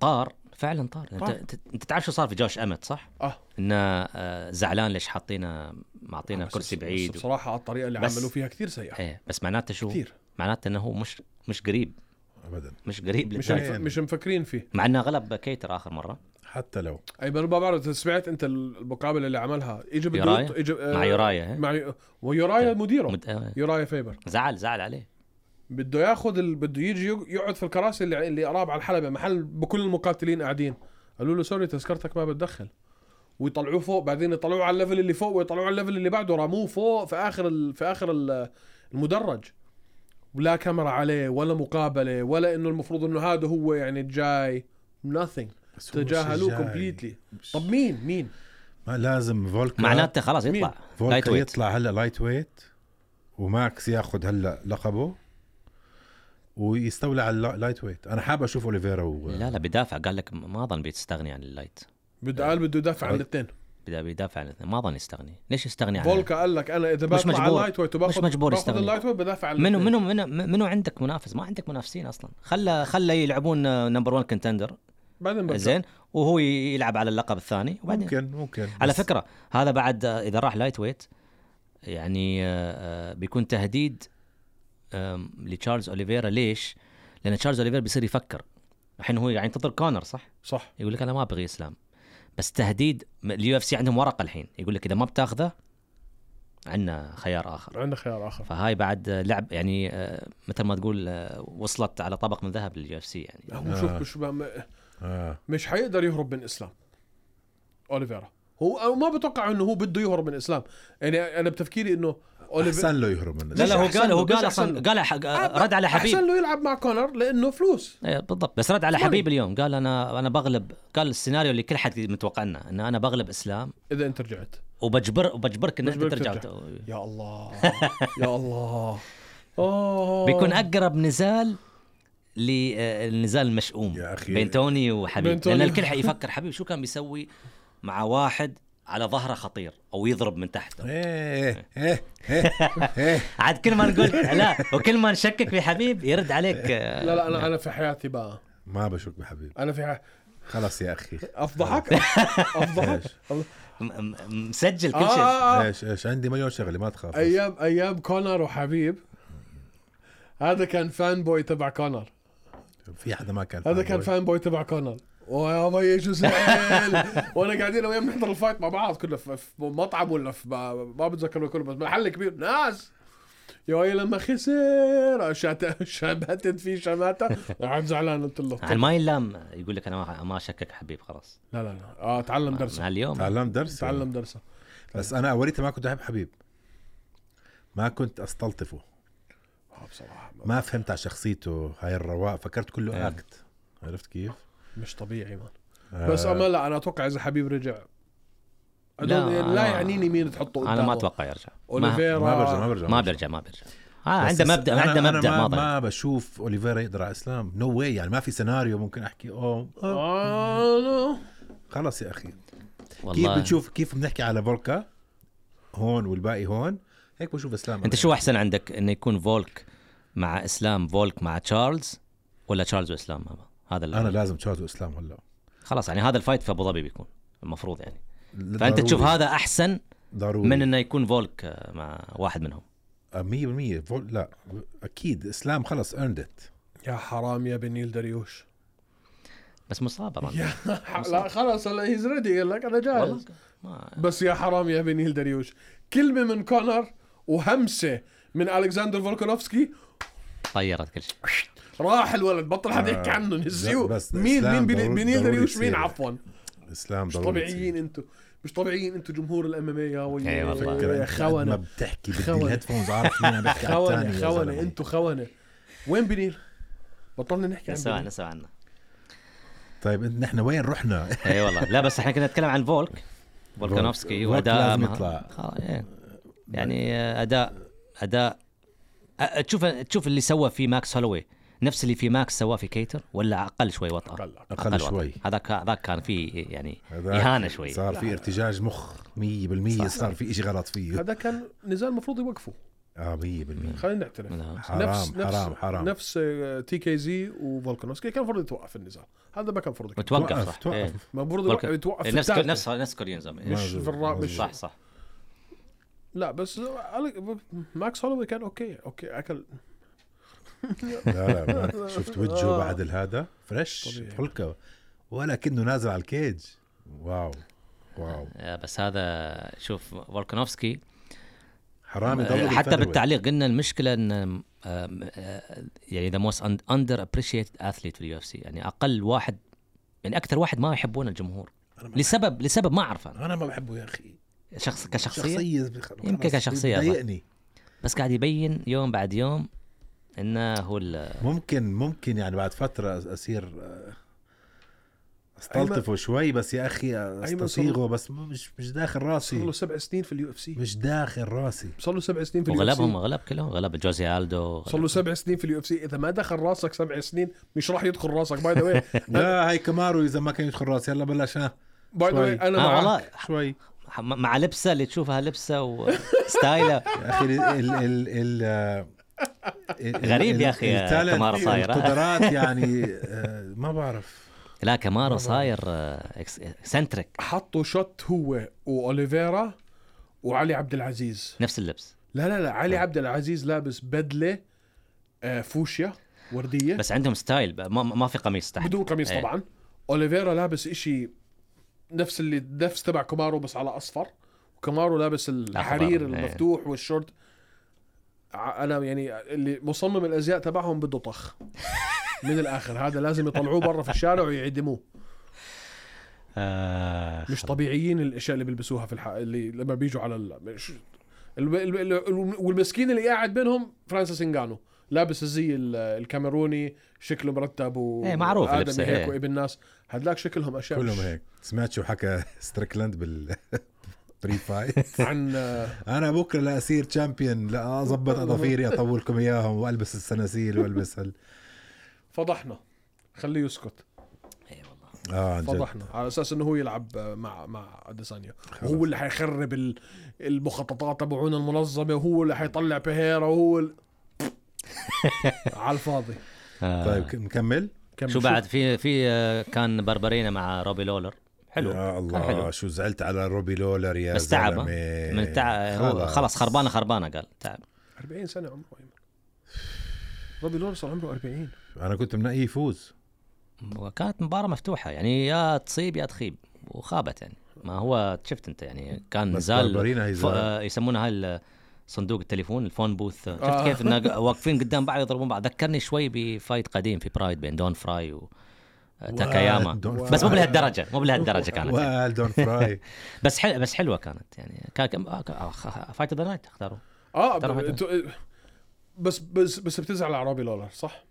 S4: طار فعلا طار انت,
S2: طار.
S4: أنت- انت تعرف شو صار في جوش امت صح؟
S2: اه
S4: انه آه، زعلان ليش حاطينا معطينا
S2: بس-
S4: كرسي
S2: بس
S4: بعيد و...
S2: بصراحه على الطريقه اللي
S4: بس-
S2: عملوا فيها كثير سيئه
S4: ايه بس معناته شو؟
S2: كثير
S4: معناته انه هو مش مش قريب
S3: ابدا
S4: مش قريب
S2: مش
S4: للتايتل.
S2: مف- مش مفكرين فيه
S4: مع انه غلب كيتر اخر مره
S3: حتى لو
S2: اي بل- ما بعرف سمعت انت المقابله اللي عملها اجى بده
S4: يورايا؟
S2: يط- اجى آه،
S4: مع يورايا ها؟
S2: مع ويورايا مديره
S4: مد... آه،
S2: يورايا فيبر
S4: زعل زعل عليه
S2: بده ياخذ ال... بده يجي يق- يقعد في الكراسي اللي اللي قراب على الحلبه محل بكل المقاتلين قاعدين قالوا له سوري تذكرتك ما بتدخل ويطلعوه فوق بعدين يطلعوه على الليفل اللي فوق ويطلعوه على الليفل اللي بعده رموه فوق في اخر ال... في اخر ال- المدرج ولا كاميرا عليه ولا مقابله ولا انه المفروض انه هذا هو يعني الجاي nothing
S3: بس هو
S2: تجاهلوه
S3: شجاعي.
S2: كومبليتلي طب مين مين
S3: ما لازم فولكا
S4: معناته خلاص يطلع
S3: فولكا
S4: لايت ويت
S3: يطلع هلا لايت ويت وماكس ياخذ هلا لقبه ويستولى على اللايت ويت انا حابب اشوف اوليفيرا و...
S4: لا لا بدافع قال لك ما اظن بيستغني عن اللايت
S2: بده قال بده يدافع عن
S4: طيب.
S2: الاثنين
S4: بدا بيدافع عن الاثنين ما اظن يستغني ليش يستغني عن
S2: فولكا قال لك انا اذا بطلع
S4: مش
S2: على
S4: مجبور.
S2: اللايت ويت وباخذ
S4: مش مجبور
S2: باخذ
S4: يستغني.
S2: اللايت ويت بدافع عن
S4: منو
S2: الاثنين.
S4: منو منو منو عندك منافس ما عندك منافسين اصلا خلى خلى يلعبون آه، نمبر 1 كونتندر
S2: بعدين برجع.
S4: زين وهو يلعب على اللقب الثاني وبعدين
S3: ممكن ممكن
S4: على
S3: بس
S4: فكره هذا بعد آه، اذا راح لايت ويت يعني آه، آه، بيكون تهديد آم، لتشارلز اوليفيرا ليش؟ لان تشارلز اوليفيرا بيصير يفكر الحين هو يعني ينتظر كونر صح؟
S2: صح
S4: يقول لك انا ما ابغي اسلام بس تهديد اليو اف سي عندهم ورقه الحين يقول لك اذا ما بتاخذه عندنا خيار اخر
S2: عندنا خيار اخر
S4: فهاي بعد آه، لعب يعني آه، مثل ما تقول آه، وصلت على طبق من ذهب لليو اف سي يعني
S2: هو شوف شو بقى-
S3: آه.
S2: مش حيقدر يهرب من الاسلام اوليفيرا هو أو ما بتوقع انه هو بده يهرب من الاسلام يعني انا بتفكيري انه اوليفيرا
S3: احسن له يهرب من
S4: لا لا هو
S2: أحسن
S4: قال
S2: له،
S4: هو
S2: بس
S4: قال
S2: أحسن له.
S4: اصلا قال حق- آه، رد على حبيب
S2: احسن له يلعب مع كونر لانه فلوس
S4: ايه بالضبط بس رد على
S2: Money.
S4: حبيب اليوم قال انا انا بغلب قال السيناريو اللي كل حد متوقعنا ان انا بغلب اسلام
S2: اذا انت رجعت
S4: وبجبر وبجبرك ان انت
S2: بجبرك
S4: ترجع
S2: ترجع.
S4: وت-
S2: يا الله يا الله اه
S4: بيكون اقرب نزال للنزال المشؤوم
S3: يا أخي.
S4: بين توني وحبيب
S2: بين
S4: بين
S2: توني.
S4: لان الكل حيفكر حبيب شو كان بيسوي مع واحد على ظهره خطير او يضرب من تحته
S3: ايه ايه ايه ايه
S4: عاد كل ما نقول لا وكل ما نشكك في حبيب يرد عليك آه،
S2: لا لا انا انا في حياتي بقى
S3: ما بشك بحبيب
S2: انا في حياتي
S3: خلص يا اخي
S2: افضحك افضحك
S4: م- م- مسجل
S2: آه,
S4: كل شيء
S2: آه, أيوة. آه,
S3: ايش ايش عندي مليون شغله ما تخاف
S2: ايام ايام كونر وحبيب هذا كان فان بوي تبع كونر
S3: في حدا ما كان
S2: هذا كان
S3: فان
S2: فان بوي تبع كونر ويا مي شو زعل وانا قاعدين انا وياه بنحضر الفايت مع بعض كنا في في مطعم ولا في ما بتذكر وين كنا بس محل كبير ناس يا ويلي لما خسر شات- شمتت فيه شماته قاعد زعلان قلت له
S4: عن ما يلام يقول لك انا ما- ما اشكك حبيب خلاص
S2: لا لا لا اه تعلم درسه
S4: مع اليوم
S3: تعلمت درس
S2: تعلم درسه
S3: بس انا اوليتها ما كنت احب حبيب ما كنت استلطفه
S2: اه بصراحه
S3: ما فهمت على شخصيته هاي الرواء فكرت
S4: أيوة.
S3: كله اكت عرفت كيف؟
S2: مش طبيعي مان
S3: آه.
S2: بس اما لا انا اتوقع اذا حبيب رجع I don't-
S4: لا،
S2: لا,
S4: أنا-
S2: يعنيني مين تحطه
S4: انا ما
S2: قدامه.
S4: اتوقع يرجع ما-
S2: اوليفيرا
S3: ما برجع ما برجع
S4: ما بيرجع ما بيرجع آه
S3: بس
S4: عنده
S3: الس-
S4: مبدا
S3: أنا-
S4: عنده
S3: أنا
S4: مبدا
S3: ما,
S4: ما ضايع.
S3: ما بشوف اوليفيرا يقدر على اسلام نو no واي يعني ما في سيناريو ممكن احكي اوه آه.
S2: آه، لا.
S3: خلص يا اخي كيف
S4: والله
S3: بنشوف كيف بنحكي على فولكا هون والباقي هون هيك بشوف اسلام
S4: انت شو احسن عندك انه يكون فولك مع اسلام فولك مع تشارلز ولا تشارلز واسلام هذا هذا اللي
S3: انا لازم تشارلز واسلام هلا
S4: خلاص يعني هذا الفايت في ابو ظبي بيكون المفروض يعني فانت
S3: ضروري-
S4: تشوف هذا احسن
S3: ضروري آه،
S4: من انه يكون فولك آه، مع واحد منهم
S3: 100% فول لا اكيد اسلام خلص ارندت
S2: يا حرام يا بنيل دريوش
S4: بس مصاب أظن.
S2: يا ح- لا خلاص هلا هيز ريدي قال لك انا
S4: والله
S2: جاهز
S4: ما
S2: بس يا حرام يا بنيل دريوش كلمه من كونر وهمسه من الكسندر فولكانوفسكي
S4: طيرت كل شيء
S2: راح الولد بطل حد يحكي عنه نسيوه
S3: آه. بس
S2: مين
S3: إسلام
S2: مين بني-
S3: ضروري-
S2: بنيل
S3: ضروري
S2: دريوش مين
S3: يصير.
S2: عفوا
S3: اسلام
S2: مش
S3: ضروري
S2: طبيعيين انتوا مش طبيعيين انتوا جمهور الام ام اي يا ويلي
S4: إيه والله.
S3: تفكر
S2: يا
S3: انت قد ما
S2: خونه
S3: بتحكي بدي
S2: خونة.
S3: الهيدفونز عارف مين عم بيحكي على الثاني
S2: خونه
S3: يا
S2: خونه
S3: زلمة.
S2: انتوا خونه وين بنيل؟ بطلنا نحكي عن
S4: نسوا
S2: بنيل
S4: نسوا عنه
S3: طيب انت نحن وين رحنا؟
S4: اي والله لا بس احنا كنا نتكلم عن فولك فولكانوفسكي
S3: فولك
S4: واداء
S3: لازم
S4: مع-
S3: يطلع.
S4: خلاص، إيه. يعني آه، اداء اداء أ- تشوف تشوف اللي سوى في ماكس هولوي نفس اللي في ماكس سواه في كيتر ولا اقل شوي وطأة
S2: أقل-
S3: أقل
S4: وطأة.
S3: شوي.
S4: هذاك هذاك كان في يعني
S3: هذاك
S4: اهانه شوي
S3: صار في ارتجاج مخ 100% صار في شيء غلط فيه
S2: هذا كان نزال المفروض يوقفه
S3: اه 100%
S2: خلينا نعترف
S4: لا.
S3: حرام حرام حرام
S2: نفس آه، تي كي زي وفولكانوفسكي كان المفروض يتوقف النزال هذا ما كان المفروض يكمل.
S4: وتوقف
S3: توقف-
S4: صح
S3: توقف.
S4: إيه.
S2: ما المفروض
S4: فولكان-
S2: يوقف- يتوقف في
S4: نفس
S2: الثالثة.
S4: نفس نفس كوريين زمان
S2: مش في الرا مش
S4: صح صح
S2: لا بس ألك- ماكس هولوي كان اوكي اوكي اكل
S3: لا لا ما- شفت وجهه
S2: آه.
S3: بعد الهذا فريش
S2: طبيعي.
S3: حلقه ولا كأنه نازل على الكيج واو واو
S4: آه، بس هذا شوف فولكانوفسكي
S3: حرام يضل
S4: آه، حتى بالتعليق قلنا المشكله ان آم، آم، آه، يعني ذا موست اندر ابريشيتد اثليت في اليو اف سي يعني اقل واحد يعني اكثر واحد ما يحبون الجمهور
S3: انا ما,
S4: لسبب لسبب ما اعرف انا
S3: أنا ما بحبه يا اخي
S4: شخص كشخصيه
S3: شخصيه بخ-
S4: يمكن
S3: خلاص،
S4: كشخصية
S3: بيضايقني
S4: بس قاعد يبين يوم بعد يوم انه هو ال-
S3: ممكن ممكن يعني بعد فتره أس- اصير آه، استلطفه شوي بس يا اخي استصيغه بس مش مش داخل
S2: صار له
S3: راسي
S2: سبع سنين في اليو اف سي
S3: مش داخل راسي
S2: صار له سبع سنين في اليو اف
S4: وغلبهم
S2: سي
S4: غلب كلهم غلب جوزي الدو
S2: صار له سبع سنين في اليو اف سي اذا ما دخل راسك سبع سنين مش راح يدخل راسك باي ذا واي
S3: لا هاي كمارو اذا ما كان يدخل راسي هلا بلاش ها
S2: باي ذا
S3: شوي.
S2: واي انا
S4: آه
S2: معك
S4: والله
S3: شوي
S4: ح- مع لبسه اللي تشوفها لبسه وستايله
S3: يا اخي ال ال ال ال ال-
S4: غريب يا
S3: ال-
S4: أخي
S3: التالنت-
S4: كمارو صاير.
S3: القدرات يعني آه، ما بعرف
S4: لا كمارو صاير آه، إكس- اكسنتريك
S2: حطوا شوت هو واوليفيرا وعلي عبد العزيز
S4: نفس اللبس
S2: لا لا لا
S4: آه.
S2: علي عبد العزيز لابس بدله آه، فوشيا ورديه
S4: بس عندهم ستايل ب- ما, ما في قميص تحت
S2: بدون قميص
S4: إيه.
S2: طبعا اوليفيرا لابس إشي نفس اللي نفس تبع كومارو بس على اصفر وكومارو لابس الحرير
S4: طبعاً، إيه.
S2: المفتوح والشورت ع- انا يعني اللي مصمم الازياء تبعهم بده طخ من الاخر هذا لازم يطلعوه برا في الشارع ويعدموه
S4: آه
S2: مش طبيعيين الاشياء اللي بيلبسوها في الح... اللي لما بيجوا على ال... مش... ال... ال... ال... ال- والمسكين اللي قاعد بينهم فرانسيس انجانو لابس الزي ال- الكاميروني شكله مرتب و
S4: إيه، معروف
S2: آدمي
S4: لبسه،
S2: هيك
S4: إيه.
S2: وابن ناس هدلاك شكلهم اشياء
S3: كلهم
S2: مش-
S3: هيك سمعت شو حكى ستريكلاند بال بري فايت
S2: عن آه،
S3: انا بكره لا اصير تشامبيون لا اظبط اظافيري اطولكم اياهم والبس السناسيل والبس ال...
S2: فضحنا خليه يسكت
S4: إيه والله
S3: اه عن جد
S2: فضحنا على اساس انه هو يلعب آه، مع مع اديسانيا وهو اللي حيخرب ال- المخططات تبعونا المنظمه وهو اللي حيطلع بيهيرا وهو ال... على الفاضي
S4: آه.
S3: طيب نكمل
S2: كمل.
S4: شو بعد في في آه، كان بربرينا مع روبي لولر حلو
S3: يا الله
S4: كان حلو
S3: شو زعلت على روبي لولر يا
S4: بس تعب، ها؟
S3: زلمه
S4: من التع... هو خلاص خربانه خربانه قال تعب
S2: 40 سنه عمره ايمن روبي لورنس صار عمره 40
S3: انا كنت منقيه يفوز
S4: وكانت مباراه مفتوحه يعني يا تصيب يا تخيب وخابت يعني ما هو شفت انت يعني كان
S3: بس
S4: نزال
S3: باربرينا هي
S4: ف...
S3: زعلت.
S4: آه، يسمونها ال- صندوق التليفون الفون بوث شفت
S2: آه.
S4: كيف انه واقفين قدام بعض يضربون بعض ذكرني شوي بفايت قديم في برايد بين دون فراي وتاكاياما
S3: ودون
S4: بس
S3: فراي.
S4: مو بلهالدرجه مو بلهالدرجه كانت يعني.
S3: والدون فراي
S4: بس حل... بس حلوه كانت يعني كان كان- آه، كان- آه، خ- فايت اوف ذا نايت اختاروا
S2: اه
S4: ترى
S2: ب- تو- بس بس بس بتزعل على روبي لولر صح؟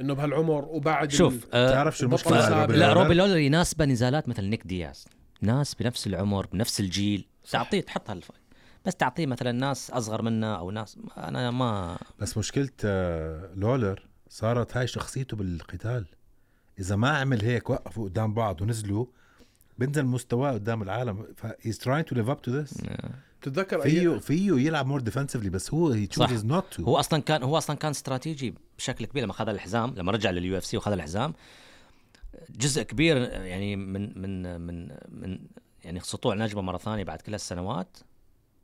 S2: انه بهالعمر وبعد
S4: شوف آه،
S3: تعرف شو المشكله
S2: بطل
S3: على
S2: صعب.
S3: روبي
S4: لا
S3: لولر؟
S4: روبي لولر يناسبه نزالات مثل نيك دياز ناس بنفس العمر بنفس الجيل تعطيه تحط هالف بس تعطيه مثلا ناس اصغر منه او ناس انا ما
S3: بس مشكلة آه، لولر صارت هاي شخصيته بالقتال إذا ما عمل هيك وقفوا قدام بعض ونزلوا بنزل مستواه قدام العالم he's trying to live up to this
S2: بتتذكر أي...
S3: فيه فيه يلعب more defensively بس هو he
S4: صح.
S3: chooses not to
S4: هو اصلا كان هو اصلا كان استراتيجي بشكل كبير لما خذ الحزام لما رجع لليو اف سي وخذ الحزام جزء كبير يعني من من من من يعني سطوع نجمه مره ثانيه بعد كل هالسنوات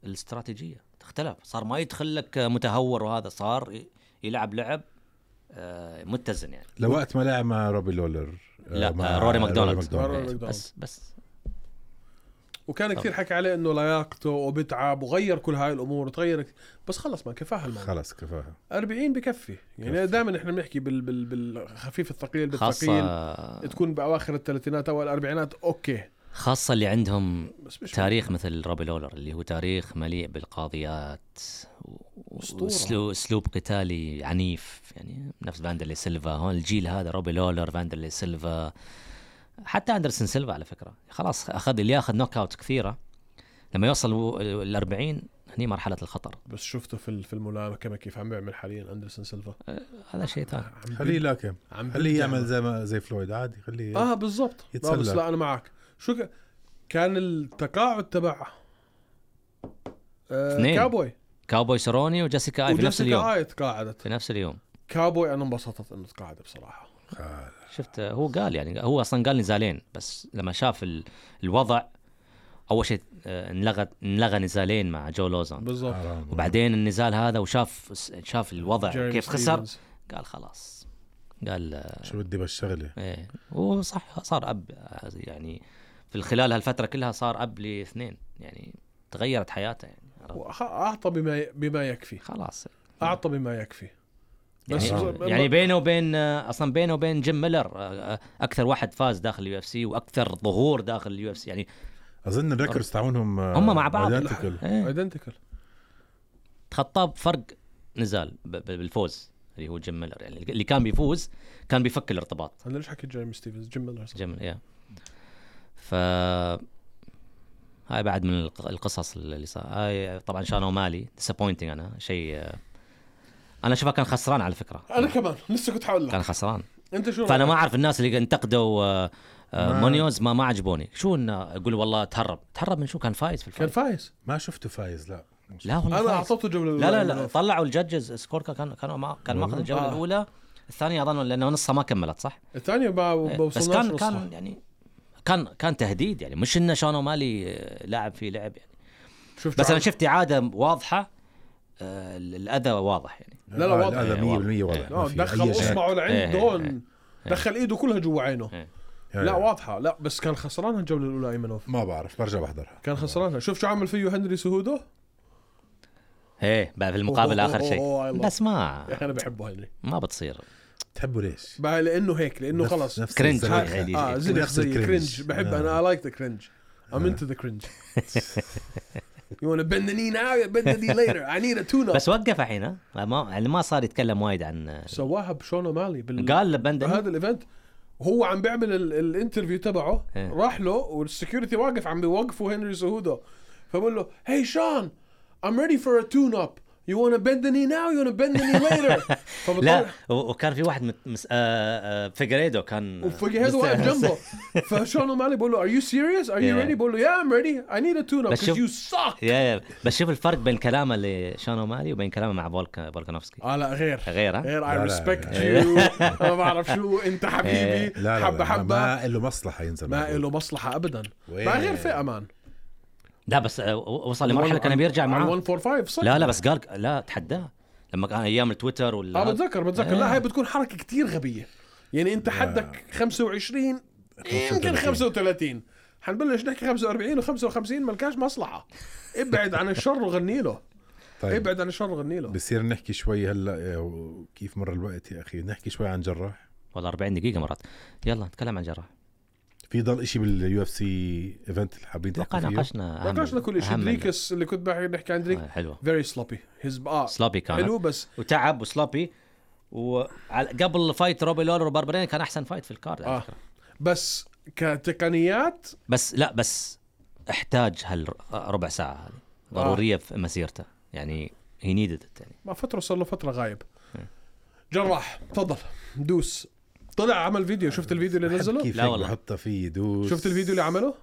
S4: الاستراتيجيه اختلف صار ما يدخل لك متهور وهذا صار ي- يلعب لعب آه، متزن يعني
S3: لوقت ما لعب مع روبي لولر آه،
S4: لا
S3: مع
S4: آه، روري ماكدونالد
S2: ماكدونالد.
S4: إيه،
S2: روري ماكدونالد.
S4: بس بس
S2: وكان كثير حكي عليه انه لياقته وبتعب وغير كل هاي الامور وتغير كت- بس خلص ما كفاها الموضوع
S3: خلص كفاها
S2: 40 بكفي يعني دائما احنا بنحكي بال... بال... بالخفيف الثقيل بالثقيل
S4: خاصه
S2: تكون باواخر الثلاثينات او الاربعينات اوكي
S4: خاصه اللي عندهم
S2: بس مش
S4: تاريخ مثل روبي لولر اللي هو تاريخ مليء بالقاضيات و-
S2: أسطورة.
S4: واسلوب اسلوب قتالي عنيف يعني نفس فاندرلي سيلفا هون الجيل هذا روبي لولر فاندرلي سيلفا حتى اندرسون سيلفا على فكره خلاص اخذ اللي ياخذ نوك اوت كثيره لما يوصل ال 40 هني مرحله الخطر
S2: بس شفته في ال- في الملاكمه كيف عم بيعمل حاليا اندرسون سيلفا
S4: هذا شيء ثاني
S2: عم
S3: خليه يلاكم
S2: عم
S3: خليه
S2: بيبدع.
S3: يعمل زي ما زي فلويد عادي خليه
S4: آه.
S2: اه بالضبط لا
S3: يتسلى.
S2: بس لا انا معك شو ك... كان التقاعد تبع آه
S4: اثنين.
S2: كابوي
S4: كاوبوي سروني وجيسيكا اي في نفس
S2: وجيسيكا
S4: اليوم
S2: آي تقاعدت
S4: في نفس اليوم
S2: كابوي انا انبسطت انه تقاعد بصراحه
S4: شفت هو قال يعني هو اصلا قال نزالين بس لما شاف ال- الوضع اول شيء آه، انلغى انلغى نزالين مع جو لوزان
S2: بالضبط
S3: حرام.
S4: وبعدين النزال هذا وشاف شاف الوضع
S2: جيرمي
S4: طيب، كيف خسر
S2: ستيفنز.
S4: قال خلاص قال آه،
S3: شو بدي بهالشغلة
S4: ايه وصح صار اب آه، يعني في خلال هالفتره كلها صار اب لاثنين يعني تغيرت حياته يعني عرفت؟
S2: وأخ- اعطى بما ي... بما يكفي
S4: خلاص إيه.
S2: اعطى بما يكفي بس
S4: يعني,
S2: ب-
S4: يعني بينه وبين آه، اصلا بينه وبين جيم ميلر آه، آه، اكثر واحد فاز داخل اليو اف سي واكثر ظهور داخل اليو اف سي يعني
S3: اظن الريكوردز تاعونهم
S4: آه.
S3: آه،
S4: هم مع بعض.
S3: identical.
S4: إيه.
S2: ايدنتيكال
S4: تخطاه بفرق نزال ب- ب- بالفوز اللي هو جيم ميلر يعني اللي كان بيفوز كان بيفك الارتباط
S2: انا ليش حكيت جيرمي ستيفنز جيم ميلر صح.
S4: جيم يا ف هاي بعد من الق- القصص اللي صار هاي طبعا شان مالي ديسابوينتنج انا شيء آه، انا شايفه كان خسران على فكره
S2: انا كمان لسه كنت حاقول لك
S4: كان خسران
S2: انت شو
S4: فانا
S2: رأيك؟
S4: ما اعرف الناس اللي انتقدوا آه، آه،
S3: ما-
S4: مونيوز ما ما عجبوني شو انه يقول والله تهرب تهرب من شو كان فايز في
S2: كان
S4: الفايز
S2: فايز
S3: ما شفته فايز لا
S4: لا والله
S2: انا
S4: فايز.
S2: اعطيته جمله
S4: لا لا لا طلعوا الجدجز سكور كان كانوا ما كان ماخذ الجوله
S2: آه.
S4: الاولى الثانيه اظن لانه نصها ما كملت صح؟
S2: الثانيه ما
S4: إيه،
S2: ما
S4: بس
S2: وصلناش
S4: كان
S2: نصها.
S4: كان يعني كان كان تهديد يعني مش انه شانو مالي آه، لاعب فيه لعب يعني
S2: شفت
S4: بس انا
S2: عرض.
S4: شفت اعاده واضحه آه، ال- الاذى واضح يعني
S2: لا،
S3: آه،
S2: لا، واضح.
S3: هذا 100% واضح ما
S2: آه،
S3: في
S2: دخل
S3: أي شك.
S2: اصبعه
S4: إيه،
S2: لعند
S4: إيه،
S2: هون دخل ايده كلها جوا عينه
S4: إيه.
S2: لا واضحه لا بس كان خسران الجوله الاولى ايمنوف
S3: ما بعرف برجع بحضرها
S2: كان خسرانها شوف شو عمل فيه هنري سهودو
S4: ايه بقى في المقابل
S2: أوه،
S4: اخر
S2: أوه، أوه، أيوة. I
S4: شيء
S2: love
S4: بس ما
S2: يا اخي انا بحبه هنري
S4: ما بتصير
S3: بتحبه ليش؟
S2: بقى لانه هيك لانه
S3: نفس-
S2: خلص
S3: نفس آه.
S4: كرنج. آه، يعني
S3: الزلخة.
S4: هاي- هاي-
S2: اه زلخ
S3: نفس
S2: زي
S3: الكرنج.
S2: كرنج بحب انا اي لايك ذا كرنج ام انتو ذا كرنج يو ونا بند ني ناو يا بند ني ليتر اي نيد ا تون
S4: بس وقف الحين ها؟ ما يعني ما صار يتكلم وايد عن آه،
S2: سواها بشون مالي بال...
S4: قال بندن
S2: بهذا الايفنت هو عم بيعمل ال- الانترفيو تبعه
S4: إيه.
S2: راح له والسكيورتي واقف عم بيوقفوا هنري سهودو فبقول له هي شون I'm ready for a tune up you wanna bend the knee now you wanna bend the knee later
S4: لا
S2: فبطلع
S4: و- وكان في واحد مت- مس... آه، آه، فيجريدو كان
S2: وفجأة هذا واقف جنبه فشون اومالي بقول له are you serious are you
S4: Yeah.
S2: ready بقول له yeah I'm ready I need a tune up
S4: بس
S2: because
S4: شوف-
S2: you suck
S4: يا يا بس شوف الفرق بين كلامه لشان اومالي وبين كلامه مع فولكا فولكانوفسكي
S2: اه لا غير
S4: غير ها؟
S2: غير I
S3: لا، لا،
S2: respect
S4: لا.
S2: you انا بعرف شو انت
S4: إيه.
S2: حبيبي
S3: لا لا
S2: حبه
S3: حبة حبة
S2: حبه
S3: ما له مصلحة ينزل
S2: ما
S3: معه.
S2: له مصلحه ابدا
S3: وين؟
S2: ما غير فئه مان
S4: لا بس آه، و- وصل لمرحله كان بيرجع معاه
S2: 145 صح
S4: لا لا بس قال لا تحداه لما كان ايام التويتر
S2: اه
S4: ولا
S2: بتذكر بتذكر لا هاي بتكون حركه كتير غبيه يعني انت حدك 25 يمكن
S3: 35.
S2: 35 حنبلش نحكي 45 و55 ملكاش مصلحه ابعد عن الشر وغني له
S3: طيب
S2: ابعد عن الشر وغني له
S3: بصير نحكي شوي هلا آه، كيف مر الوقت يا اخي نحكي شوي عن جراح
S4: ولا 40 دقيقه مرات يلا نتكلم عن جراح
S3: في ضل إشي باليو اف سي ايفنت اللي حابين
S4: اتوقع
S3: تحكوا فيه
S4: ناقشنا أهم-
S2: ناقشنا كل شيء
S4: أهم ال-
S2: دريكس اللي كنت بحكي نحكي عن دريك
S4: آه، حلوه
S2: فيري سلوبي هيز اه
S4: سلابي كان
S2: حلو بس
S4: وتعب وسلابي وقبل فايت روبي لولر وباربرين كان احسن فايت في الكارد على
S2: آه.
S4: فكره
S2: بس كتقنيات
S4: بس لا بس احتاج هالربع ساعه هذه
S2: آه.
S4: ضروريه في مسيرته يعني هي نيدد يعني
S2: ما فتره صار له فتره غايب جراح تفضل دوس طلع عمل فيديو شفت الفيديو اللي
S3: بحب
S2: نزله
S3: كيف
S4: لا
S3: هيك
S4: والله.
S3: بحطها فيه دوس
S2: شفت الفيديو اللي عمله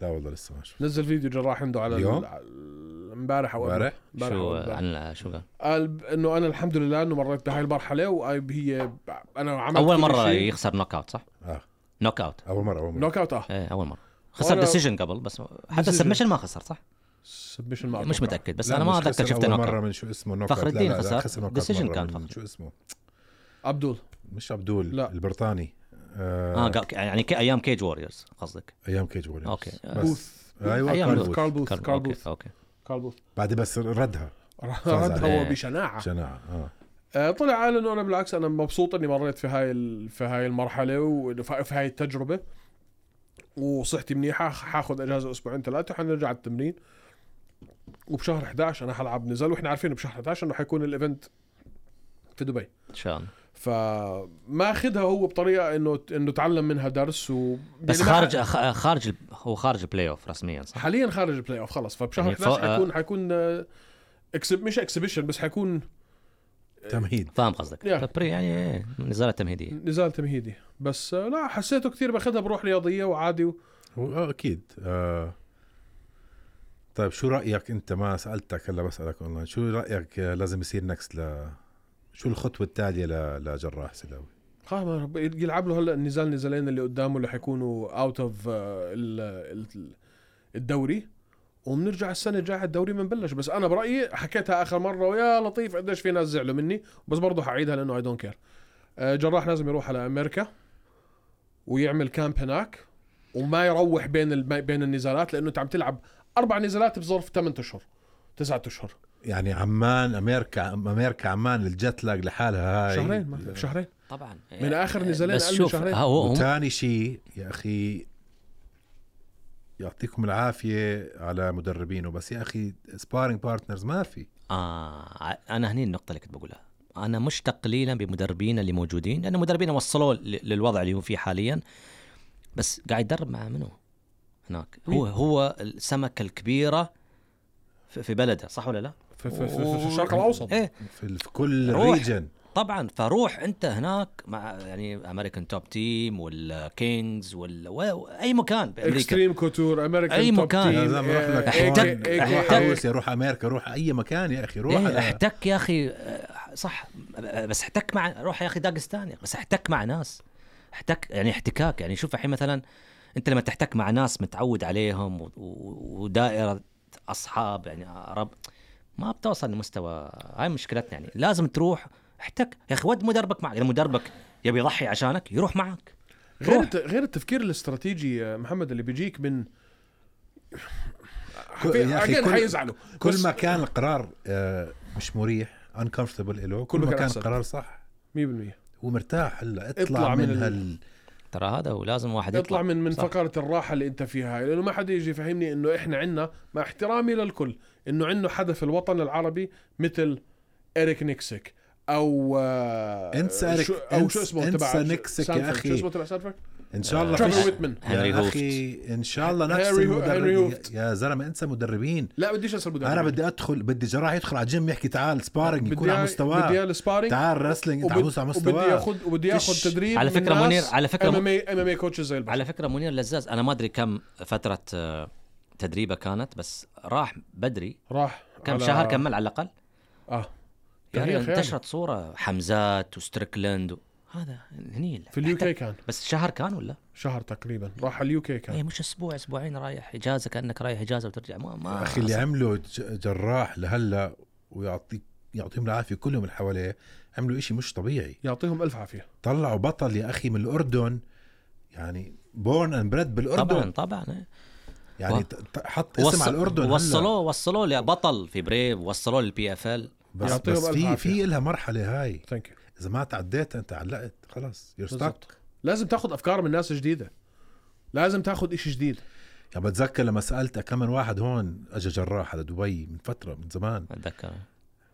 S3: لا والله لسه ما شفت
S2: نزل فيديو جراح عنده على
S3: اليوم؟
S2: ال- على ال- امبارح او قبل-
S3: امبارح
S2: امبارح
S4: شو
S2: أو قبل.
S4: عن شو قال
S2: قال ب- انه انا الحمد لله انه مريت بهاي المرحله وهي انا عملت
S4: اول
S2: كل
S4: مره
S2: شيء.
S4: يخسر نوك اوت صح؟
S3: اه
S4: نوك اوت
S3: اول مرة اول مرة
S2: نوك اوت اه
S4: ايه اول مره خسر
S2: وأنا-
S4: ديسيجن قبل بس حتى
S2: Decision.
S4: السبمشن ما خسر صح؟
S2: سبشن ما
S4: مش
S2: أتوقع.
S4: متاكد بس
S3: لا،
S4: انا ما
S3: مش خسر
S4: اتذكر شفت
S3: اول
S4: نوك
S3: مرة
S4: اوت
S3: من شو اسمه نوك
S4: فخر
S3: أوت. لا،
S4: الدين
S3: لا، لا،
S4: خسر.
S3: نوك أوت
S4: Decision
S3: مرة
S4: كان
S3: من-
S4: فخر.
S3: شو اسمه
S2: عبدول
S3: مش عبدول
S2: لا.
S3: البريطاني
S4: اه
S3: آه
S4: قا- يعني ك- ايام كيج ووريرز قصدك
S3: ايام كيج ووريرز
S4: أوكي. آه.
S3: بس.
S2: بوث
S3: ايوه
S4: أيام
S3: كارل
S4: بوث.
S3: بوث.
S2: كارل بوث
S4: كان-
S2: كارل
S4: أوكي،
S2: بوث
S4: اوكي
S2: كارل بوث
S3: بعد بس ردها
S4: آه.
S2: ردها
S4: عليه.
S2: وبشناعه
S3: شناعة اه
S2: آه، طلع قال انه انا بالعكس انا مبسوط اني مريت في هاي ال- في هاي المرحله وفي هاي التجربه وصحتي منيحه حاخذ اجازه اسبوعين ثلاثه وحنرجع على التمرين وبشهر 11 انا حلعب نزال واحنا عارفين بشهر 11 انه حيكون الايفنت في دبي
S4: ان شاء الله
S2: يعني فما اخذها هو بطريقه انه انه تعلم منها درس و
S4: بس
S2: يعني ما-
S4: خارج خ- خارج ال- هو خارج البلاي اوف رسميا صح؟
S2: حاليا خارج البلاي اوف خلص فبشهر
S4: يعني
S2: 11
S4: فوق- آه.
S2: حيكون حيكون آه، اكسب مش اكسبيشن بس حيكون
S4: آه.
S3: تمهيد
S4: فاهم قصدك
S2: Yeah.
S4: فبري- يعني إيه، نزاله تمهيديه
S2: نزال تمهيدي بس آه، لا حسيته كثير باخذها بروح رياضيه وعادي و...
S3: هو اه اكيد آه. طيب شو رايك انت ما سالتك هلا بسالك اونلاين شو رايك آه، لازم يصير نكست ل شو الخطوه التاليه ل... لجراح سلاوي
S2: خلاص ما رب- يلعب له هلا النزال نزالين اللي قدامه اللي حيكونوا اوت اوف آه، الدوري وبنرجع السنه الجايه على الدوري بنبلش بس انا برايي حكيتها اخر مره ويا لطيف قديش في ناس زعلوا مني بس برضه حعيدها لانه اي دونت كير آه، جراح لازم يروح على امريكا ويعمل كامب هناك وما يروح بين الم- بين النزالات لانه انت عم تلعب اربع نزالات بظرف 8 اشهر 9 اشهر
S3: يعني عمان امريكا امريكا عمان الجت لاج لحالها هاي آه.
S2: شهرين ما شهرين
S4: طبعا
S2: من آخر نزالين
S4: يعني بس
S2: أقل من
S4: شوف آه،
S2: شهرين.
S4: هو هم
S3: وثاني شيء يا اخي يعطيكم العافيه على مدربينه بس يا اخي سبارينج بارتنرز ما في
S4: آه انا هني النقطه اللي كنت بقولها انا مشتاق قليلا بمدربينا اللي موجودين لان مدربينا وصلوا ل- للوضع اللي هو فيه حاليا بس قاعد يدرب مع منو هناك هو هو السمكه الكبيره في في بلده صح ولا لا؟
S2: في, في, في, في الشرق الاوسط
S4: ايه
S3: في, ال- في كل
S4: روح.
S3: الريجن
S4: طبعا فروح انت هناك مع يعني امريكان توب تيم ولا كينجز ولا و- اي مكان بامريكا
S2: اكستريم كوتور امريكان
S4: أي مكان.
S3: لازم اروح
S2: إيه،
S3: لك
S4: احتك-
S3: هون، روح
S4: احتك-
S3: روسيا روح امريكا روح اي مكان يا اخي روح
S4: إيه
S3: على-
S4: احتك يا اخي آه، صح بس احتك مع روح يا اخي داغستان يا أخي، بس احتك مع ناس احتك يعني احتكاك يعني شوف الحين مثلا انت لما تحتك مع ناس متعود عليهم و- و- ودائره اصحاب يعني رب ما بتوصل لمستوى هاي مشكلتنا يعني لازم تروح احتك يا اخي ود مدربك معك اذا مدربك يبي يضحي عشانك يروح معك
S2: غير
S4: روح.
S2: الت... غير التفكير الاستراتيجي يا محمد اللي بيجيك من
S3: كل- يا أخي
S2: أكيد
S3: كل-
S2: حيزعلوا
S3: كل ما كان القرار آه، مش مريح انكمفتبل له كل
S2: ما
S3: ما
S2: كان
S3: كان
S2: أحسن.
S3: القرار صح
S2: 100%
S3: هو مرتاح هلا اطلع,
S2: اطلع من
S3: من,
S2: ال-
S3: هال
S4: ترى هذا ولازم واحد
S2: اطلع من من
S4: صح.
S2: فقره الراحه اللي انت فيها هاي لانه ما حدا يجي يفهمني انه احنا عندنا مع احترامي للكل انه عندنا حدا في الوطن العربي مثل اريك نيكسك او آه،
S3: انسى إريك-
S2: شو او شو
S3: انسى-
S2: اسمه
S3: انسى
S2: تبع
S3: نيكسك يا
S2: سانفورد.
S3: أخي.
S2: شو اسمه تبع سانفورد
S3: ان شاء الله
S2: ترافل
S3: فيش-
S2: ويتمن.
S4: هنري
S3: يا
S4: هوفت.
S3: اخي ان شاء الله نفس
S2: هنري هو- هنري
S3: المدربين
S2: هوفت.
S3: يا زلمه انسى مدربين
S2: لا بديش اسال
S3: انا بدي ادخل بدي جراح يدخل على الجيم يحكي تعال سبارنج يكون على
S2: إياه- بدي اياه
S3: مستواه
S2: السبارينج
S3: تعال رسلينج انت عاوز على
S2: وبدي
S3: مستواه
S2: ياخذ وبدي ياخذ
S3: فيش-
S2: تدريب
S4: على
S2: من
S4: فكرة
S2: ناس
S4: منير- على فكرة
S2: ام
S4: م-
S2: ام اي ام ام اي كوتشز زي البشر
S4: على فكره منير لزاز انا ما ادري كم فتره آه، تدريبه كانت بس راح بدري
S2: راح
S4: كم
S2: على-
S4: شهر كمل على الاقل
S2: اه
S4: يعني
S2: تاريخ يعني.
S4: انتشرت صوره حمزات وستريكلند و... هذا هني
S2: في اليو كي كان
S4: بس شهر كان ولا؟
S2: شهر تقريبا راح اليو كي كان
S4: اي مش اسبوع اسبوعين رايح اجازه كانك رايح اجازه وترجع ما ما
S3: اخي اللي عمله ج- جراح لهلا ويعطيك يعطيهم العافيه كلهم اللي حواليه عملوا إشي مش طبيعي
S2: يعطيهم الف عافيه
S3: طلعوا بطل يا اخي من الاردن يعني بورن اند بريد بالاردن
S4: طبعا طبعا إيه.
S3: يعني
S4: و-
S3: ت- ت- حط اسم على الاردن هلا.
S4: وصلوه وصلوه لبطل في بريف وصلوه للبي اف ال
S3: بس,
S2: يعطيهم
S3: بس
S2: ألف
S3: في
S2: عافية.
S3: في لها مرحله هاي
S2: ثانك يو
S3: اذا ما تعديت انت علقت خلاص يور
S2: بالضبط.
S3: ستك
S2: لازم تاخذ افكار من ناس جديده لازم تاخذ إشي جديد
S3: يعني بتذكر لما سالت كم من واحد هون اجى جراح على دبي من فتره من زمان
S4: اتذكر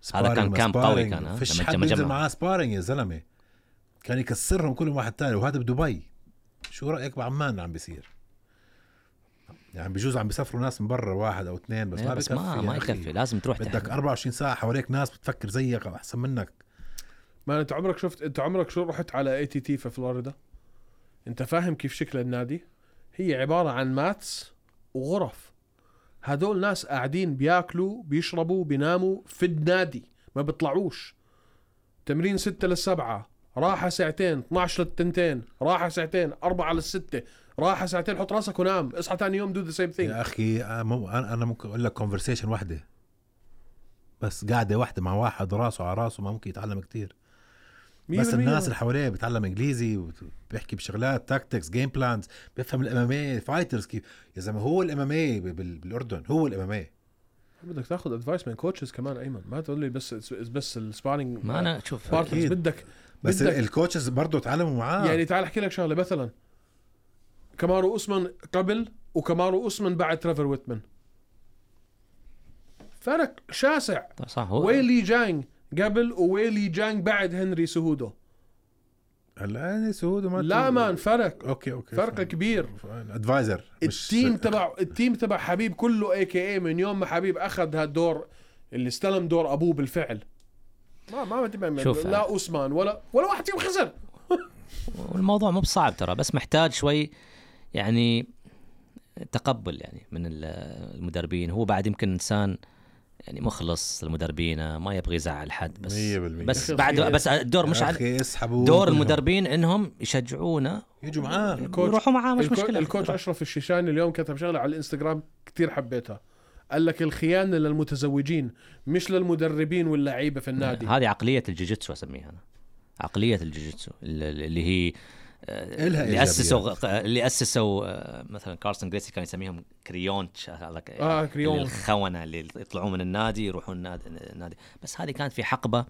S3: سبارينج
S4: كان
S3: ما
S4: كامب قوي
S3: سبارينج.
S4: كان، ها؟
S3: فيش
S4: لما
S3: حد
S4: جمع-
S3: بينزل
S4: جمع.
S3: معاه سبارينج يا زلمه كان يكسرهم كلهم واحد تاني وهذا بدبي شو رايك بعمان عم بيصير يعني بجوز عم بيسافروا ناس من برا واحد او اثنين بس ما
S4: إيه، بس ما
S3: بكفي
S4: ما
S3: يا أخي.
S4: يكفي لازم تروح
S3: بدك
S4: تحت.
S3: 24 ساعه حواليك ناس بتفكر زيك او احسن منك
S2: ما انت عمرك شفت انت عمرك شو رحت على اي تي تي في فلوريدا انت فاهم كيف شكل النادي هي عباره عن ماتس وغرف هدول ناس قاعدين بياكلوا بيشربوا بيناموا في النادي ما بيطلعوش تمرين ستة للسبعة راحة ساعتين 12 للتنتين راحة ساعتين أربعة للستة راحة ساعتين حط راسك ونام اصحى تاني يوم دو ذا سيم ثينج
S3: يا اخي أنا مو- انا أنا ممكن اقول لك كونفرسيشن واحده بس قاعده واحده مع واحد راسه على راسه ما ممكن يتعلم كتير بس الناس اللي حواليه بيتعلم انجليزي وبيحكي بشغلات تاكتكس جيم بلانز بيفهم الام ام فايترز كيف يا زلمه هو الام ام بالاردن هو الام ام
S2: بدك تاخذ ادفايس من كوتشز كمان ايمن ما تقول لي بس بس السبارينج
S4: ما انا شوف
S2: بارتنرز
S3: أكيد.
S2: بدك
S3: بس
S2: بدك-
S3: الكوتشز برضه تعلموا معاه
S2: يعني تعال احكي لك شغله مثلا كامارو اوسمان قبل وكامارو اوسمان بعد ترافر ويتمن فرق شاسع
S4: صح هو
S2: ويلي جانج قبل وويلي جانج بعد هنري سهودو
S3: هلا يعني سعود وما
S2: لا مان فرق
S3: اوكي اوكي
S2: فرق كبير
S3: ادفايزر
S2: التيم تبع التيم تبع حبيب كله اي كي اي من يوم ما حبيب اخذ هالدور اللي استلم دور ابوه بالفعل ما ما ما-
S4: شوف.
S2: لا اوسمان ولا ولا واحد فيهم خسر
S4: والموضوع مو بصعب ترى بس محتاج شوي يعني تقبل يعني من ال- المدربين هو بعد يمكن انسان يعني مخلص المدربين ما يبغى يزعل حد بس
S3: 100%
S4: بس
S2: أخي
S4: بعد
S2: خير.
S4: بس الدور مش على
S3: اخي اسحبوا
S4: دور
S3: كلهم.
S4: المدربين انهم يشجعونا
S3: يجوا معاه
S2: الكوتش-
S4: يروحوا معاه آه، مش طيب.
S2: الكو-
S4: مشكله
S2: الكوتش
S4: يروح.
S2: اشرف الشيشاني اليوم كتب شغله على الانستغرام كتير حبيتها قال لك الخيانه للمتزوجين مش للمدربين واللعيبه في النادي
S4: هذه عقليه الجوجيتسو اسميها انا عقليه الجوجيتسو ال- ال- اللي هي آه،
S3: إلها
S4: اللي اسسوا
S3: إيجابيات.
S4: آه، اللي اسسوا آه، مثلا كارسون جريسي كان يسميهم كريونتش هذاك
S2: آه، كريونت.
S4: اللي الخونه اللي يطلعوا من النادي يروحون النادي, النادي. بس هذه كانت في حقبه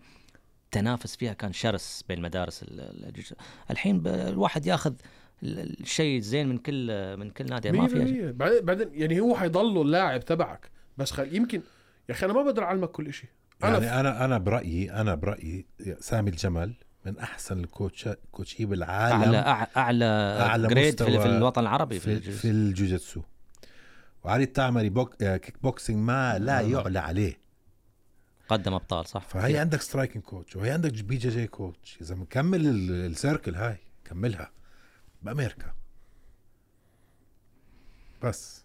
S4: تنافس فيها كان شرس بين مدارس ال- ال- الج- الحين ب- الواحد ياخذ ال- الشيء الزين من كل من كل نادي ما في
S2: 100% بعدين بعدين يعني هو حيضله اللاعب تبعك بس خل... يمكن يا اخي انا ما بقدر اعلمك كل شيء انا
S3: يعني انا انا برايي انا برايي سامي الجمل من احسن الكوتش كوتشي بالعالم
S4: اعلى أع- اعلى
S3: أعلى
S4: اعلى جريد في,
S3: مستوى
S4: في الوطن العربي في,
S3: في,
S4: الجزء.
S3: في الجوجيتسو وعلي التعمري بوك... آه، كيك بوكسينج ما لا يعلى عليه
S4: قدم ابطال صح
S3: فهي عندك سترايكنج كوتش وهي عندك بي جي جي كوتش اذا مكمل ال- السيركل هاي كملها بامريكا بس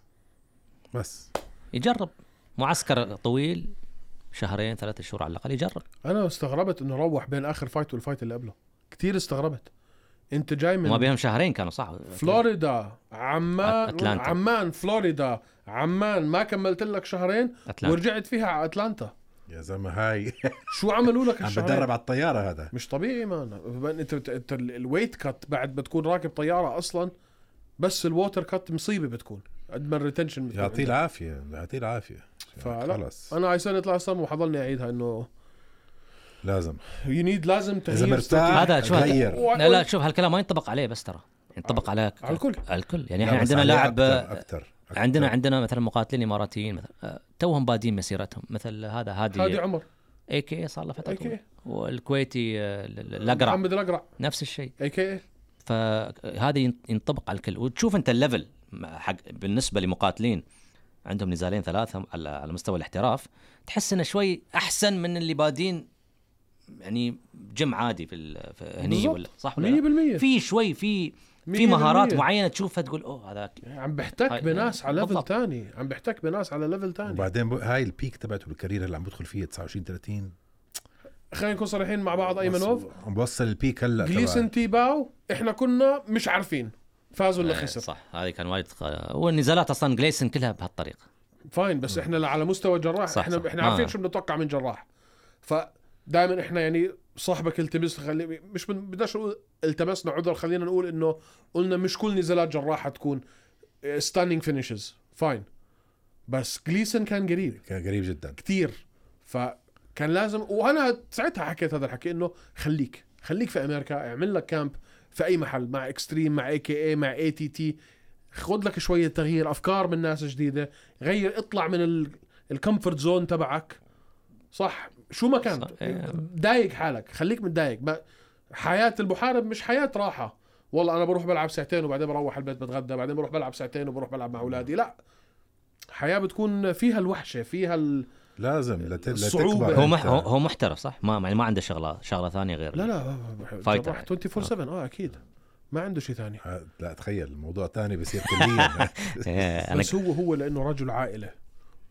S3: بس
S4: يجرب معسكر طويل شهرين ثلاثة شهور على الاقل يجرب
S2: انا استغربت انه روح بين اخر فايت والفايت اللي قبله كتير استغربت انت جاي
S4: ما
S2: من
S4: بينهم شهرين كانوا صح
S2: فلوريدا عمان
S4: أتلانتا.
S2: عمان فلوريدا عمان ما كملت لك شهرين
S4: أتلانتا.
S2: ورجعت فيها على اتلانتا
S3: يا زلمه هاي
S2: شو عملوا لك
S3: عم
S2: الشهرين
S3: بتدرب على الطياره هذا
S2: مش طبيعي مان انت انت ال- الويت كات بعد بتكون راكب طياره اصلا بس الووتر كات مصيبه بتكون قد ما الريتنشن بتكون
S3: يعطيه
S2: عندك.
S3: العافيه يعطيه العافيه
S2: فلا.
S3: خلص
S2: انا هاي سنه طلع سم وحضلني اعيدها انه
S3: لازم
S2: يو نيد لازم
S3: اذا
S2: تغيير استراتيجي.
S3: مرتاح
S4: هذا شو هذا؟
S3: غير
S2: و-
S4: لا لا شوف هالكلام ما ينطبق عليه بس ترى ينطبق على
S2: على الكل.
S4: على الكل يعني
S3: لا،
S4: احنا
S3: بس
S4: عندنا
S3: عليه
S4: لاعب
S3: أكتر- اكثر أكتر.
S4: عندنا عندنا مثلا مقاتلين اماراتيين مثلا آه، توهم بادين مسيرتهم مثل هذا
S2: هادي
S4: هادي
S2: عمر
S4: اي كي اي صار له فتره
S2: AK.
S4: طويلة. والكويتي آه، ال- ال- الاقرع
S2: محمد الاقرع
S4: نفس الشيء
S2: اي كي اي
S4: فهذا ين- ينطبق على الكل وتشوف انت الليفل مع- حق بالنسبه لمقاتلين عندهم نزالين ثلاثه على على مستوى الاحتراف تحس انه شوي احسن من اللي بادين يعني جيم عادي في, ال- في هني
S2: بالضبط.
S4: ولا صح ولا لا؟
S2: 100%
S4: في شوي في في
S2: 100%
S4: مهارات معينه تشوفها تقول اوه هذاك
S2: عم بحتك
S4: هاي-
S2: بناس على ليفل
S4: بالضبط.
S2: ثاني عم بحتك بناس على ليفل ثاني
S3: وبعدين بو- هاي البيك تبعته بالكارير اللي عم بدخل فيه 29 30
S2: خلينا نكون صريحين مع بعض ايمنوف
S3: عم بوصل البيك هلا تبع-
S2: جليسن تيباو احنا كنا مش عارفين فاز ولا
S4: آه،
S2: خسر
S4: صح هذه كان وايد خ- والنزالات اصلا جليسن كلها بهالطريقه
S2: فاين بس احنا لا على مستوى جراح
S4: صح،
S2: احنا
S4: صح. آه.
S2: احنا
S4: ما-
S2: عارفين شو بنتوقع من جراح فدائما احنا يعني صاحبك التمس خلي مش بن- بدناش نقول التمسنا عذر خلينا نقول انه قلنا مش كل نزالات جراح حتكون ستاندينج فينيشز فاين بس جليسن كان قريب
S3: كان قريب جدا
S2: كتير فكان لازم وانا ساعتها حكيت هذا الحكي انه خليك خليك في امريكا اعمل لك كامب في اي محل مع اكستريم مع اي كي اي مع اي تي تي خذ لك شويه تغيير افكار من ناس جديده غير اطلع من الكمفورت زون تبعك صح شو ما كان
S4: صح، إيه.
S2: ضايق حالك خليك متضايق ما- حياه المحارب مش حياه راحه والله انا بروح بلعب ساعتين وبعدين بروح البيت بتغدى بعدين بروح بلعب ساعتين وبروح بلعب مع اولادي لا حياه بتكون فيها الوحشه فيها ال...
S3: لازم لت...
S2: الصعوبة.
S3: لتكبر
S4: هو
S3: أنت.
S4: مح هو- هو محترف صح ما يعني ما عنده شغله شغله ثانيه غير
S2: لا لا
S4: فايتر
S2: جراح
S4: يعني.
S2: 24 7 اه اكيد ما عنده شيء ثاني
S3: ه- آه، لا تخيل الموضوع تاني بصير كليا
S4: إيه، انا
S2: بس هو هو لانه رجل عائله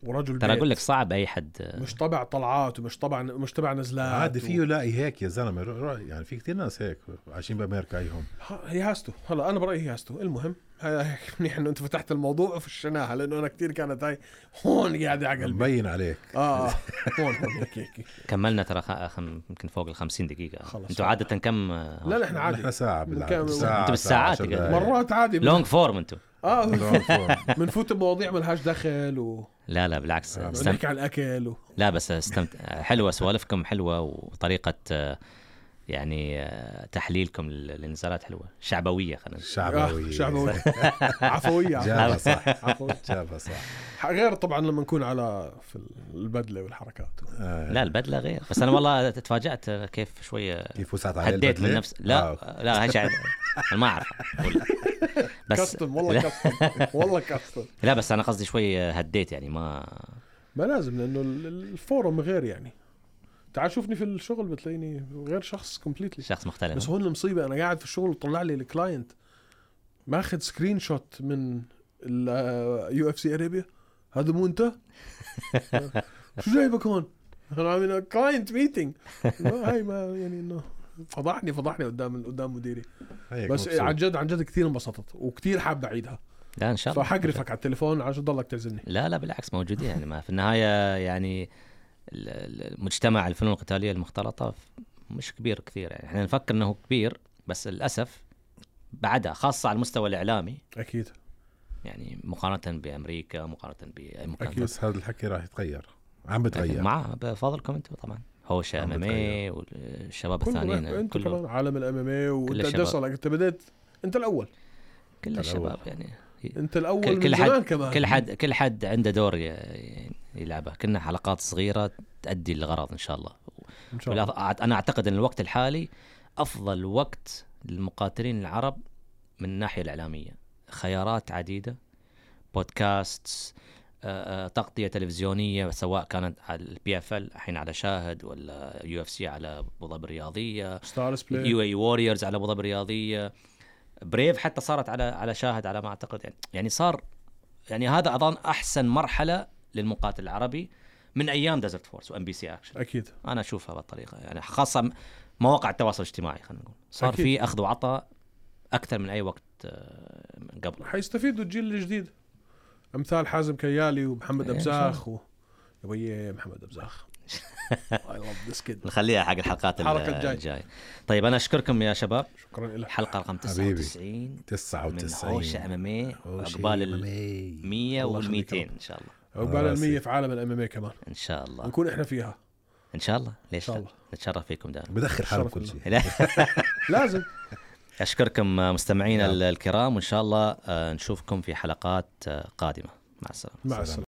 S2: ورجل
S4: ترى
S2: بيت.
S4: اقول لك صعب اي حد
S2: مش تبع طلعات ومش تبع مش تبع نزلات
S3: عادي فيه لاقي هيك يا زلمه رو- رو- يعني في كتير ناس هيك عايشين بامريكا ايهم
S2: ها- هي هاستو هلا انا برايي هي هاستو المهم هاي- هاي منيح انه انت فتحت الموضوع وفشناها لانه انا كثير كانت هاي هون قاعده على قلبي
S3: مبين عليك
S2: اه هون هون هيك هيك
S4: كملنا ترى خ- خم... يمكن فوق ال 50 دقيقة
S2: خلاص.
S4: انتوا عادة كم
S2: لا لا احنا
S3: نحن
S2: عادي
S3: ساعه بالعاده
S2: مكان-
S3: ساعه
S4: أنت بالساعات تقعد.
S3: مرات
S2: مرات عادي
S4: لونج فورم انتوا
S2: اه بنفوت بمواضيع ملهاش دخل وبنحكي
S4: لا لا بالعكس
S2: آه،
S4: استم...
S2: عن الاكل و...
S4: لا بس استمتع حلوة سوالفكم حلوة وطريقة آه، يعني آه، تحليلكم لل- للنزالات حلوة شعبوية خلينا نقول.
S3: شعبوي
S2: آه، شعبوية عفوية
S3: جابها صح
S2: عفوية
S3: جابها صح
S2: غير طبعا لما نكون على في البدله والحركات
S3: آه،
S4: لا البدلة غير بس انا والله تفاجأت آه، كيف شوية
S3: كيف وسعت عليه
S4: هديت من
S3: البدلة؟
S4: نفس لا
S3: آه،
S4: لا هاي شعر انا ما اعرف أقول. بس
S2: كاستم والله كاستم والله كاستم
S4: لا بس انا قصدي شوي هديت يعني ما
S2: ما لازم لانه ال- ال- الفورم غير يعني تعال شوفني في الشغل بتلاقيني غير شخص كومبليتلي
S4: شخص مختلف
S2: بس هون المصيبه انا قاعد في الشغل وطلع لي الكلاينت ماخذ سكرين شوت من اليو اف سي اريبيا هذا مو انت؟ شو جايبك هون؟ انا عامل كلاينت ميتنج هاي ما يعني انه فضحني فضحني قدام قدام مديري
S3: هيك
S2: بس إيه،
S3: مبسوط.
S2: عن جد عن جد كثير انبسطت وكثير حاب اعيدها
S4: لا ان شاء الله
S2: فحقرفك على التليفون عشان تضلك تعزلني
S4: لا لا بالعكس موجودين يعني ما في النهايه يعني ال- ال- المجتمع الفنون القتاليه المختلطه ف- مش كبير كثير يعني احنا نفكر انه كبير بس للاسف بعدها خاصه على المستوى الاعلامي
S2: اكيد
S4: يعني مقارنه بامريكا مقارنه باي مكان
S2: أكيد.
S4: أكيد.
S3: بس هذا الحكي راح يتغير عم بتغير
S4: مع بفضلكم انتم طبعا هوشه
S3: عم
S4: ام ام اي
S3: أه، بتغير.
S4: إيه والشباب الثانيين
S2: كله انت كمان
S4: كله
S2: عالم الام ام اي وانت قد
S4: الشباب.
S2: إيش صار لك انت بديت انت الاول
S4: كل الشباب
S3: الأول.
S4: يعني
S2: انت الاول
S4: كل-
S2: من
S4: كل
S2: زمان
S4: حد-
S2: كمان
S4: كل حد كل حد عنده دور ي- يلعبه كنا حلقات صغيره تؤدي الغرض ان شاء الله
S2: ان شاء الله
S4: ولا- انا اعتقد ان الوقت الحالي افضل وقت للمقاتلين العرب من الناحيه الاعلاميه خيارات عديده بودكاست تغطيه تلفزيونيه سواء كانت على البي اف ال الحين على شاهد ولا يو اف سي على ابو ظبي الرياضيه
S2: ستارز بلاي
S3: إيه.
S4: يو اي ووريرز E على ابو ظبي الرياضيه بريف حتى صارت على على شاهد على ما اعتقد يعني يعني صار يعني هذا اظن احسن مرحله للمقاتل العربي من ايام ديزرت فورس وام بي سي اكشن
S2: اكيد
S4: انا اشوفها بالطريقه يعني خاصه م- مواقع التواصل الاجتماعي خلينا نقول صار
S2: أكيد.
S4: في اخذ وعطاء اكثر من اي وقت آه، من قبل
S2: حيستفيدوا الجيل الجديد امثال حازم كيالي ومحمد
S4: إيه، إن شاء
S2: ابزاخ و... يا ويلي محمد ابزاخ اي لاف ذس كيد
S4: نخليها حق الحلقات ال-
S2: الحلقة الجاي.
S4: الجايه طيب انا اشكركم يا شباب
S2: شكرا لك
S4: حلقه رقم
S3: حبيبي.
S4: 99 من
S3: 99
S4: هوشه اماميه
S3: هوشة
S4: اقبال ال
S3: MMA.
S4: 100
S3: الله
S4: وال
S3: يخليك
S4: 200
S3: يا رب.
S4: ان شاء الله
S2: عقبال
S3: راسي.
S2: المية في عالم الام ام اي إيه كمان
S4: ان شاء الله
S2: نكون احنا فيها
S4: ان شاء الله ليش
S2: شاء
S4: لا؟
S2: الله.
S4: نتشرف فيكم دائما
S3: بدخل حاله
S2: شرف
S3: كل
S2: الله.
S3: شيء
S4: لا.
S2: لازم
S4: اشكركم آه،
S2: نعم.
S4: مستمعينا ال- الكرام وان شاء الله آه، نشوفكم في حلقات آه، قادمه مع السلامه
S2: مع
S3: سلام.
S2: السلامه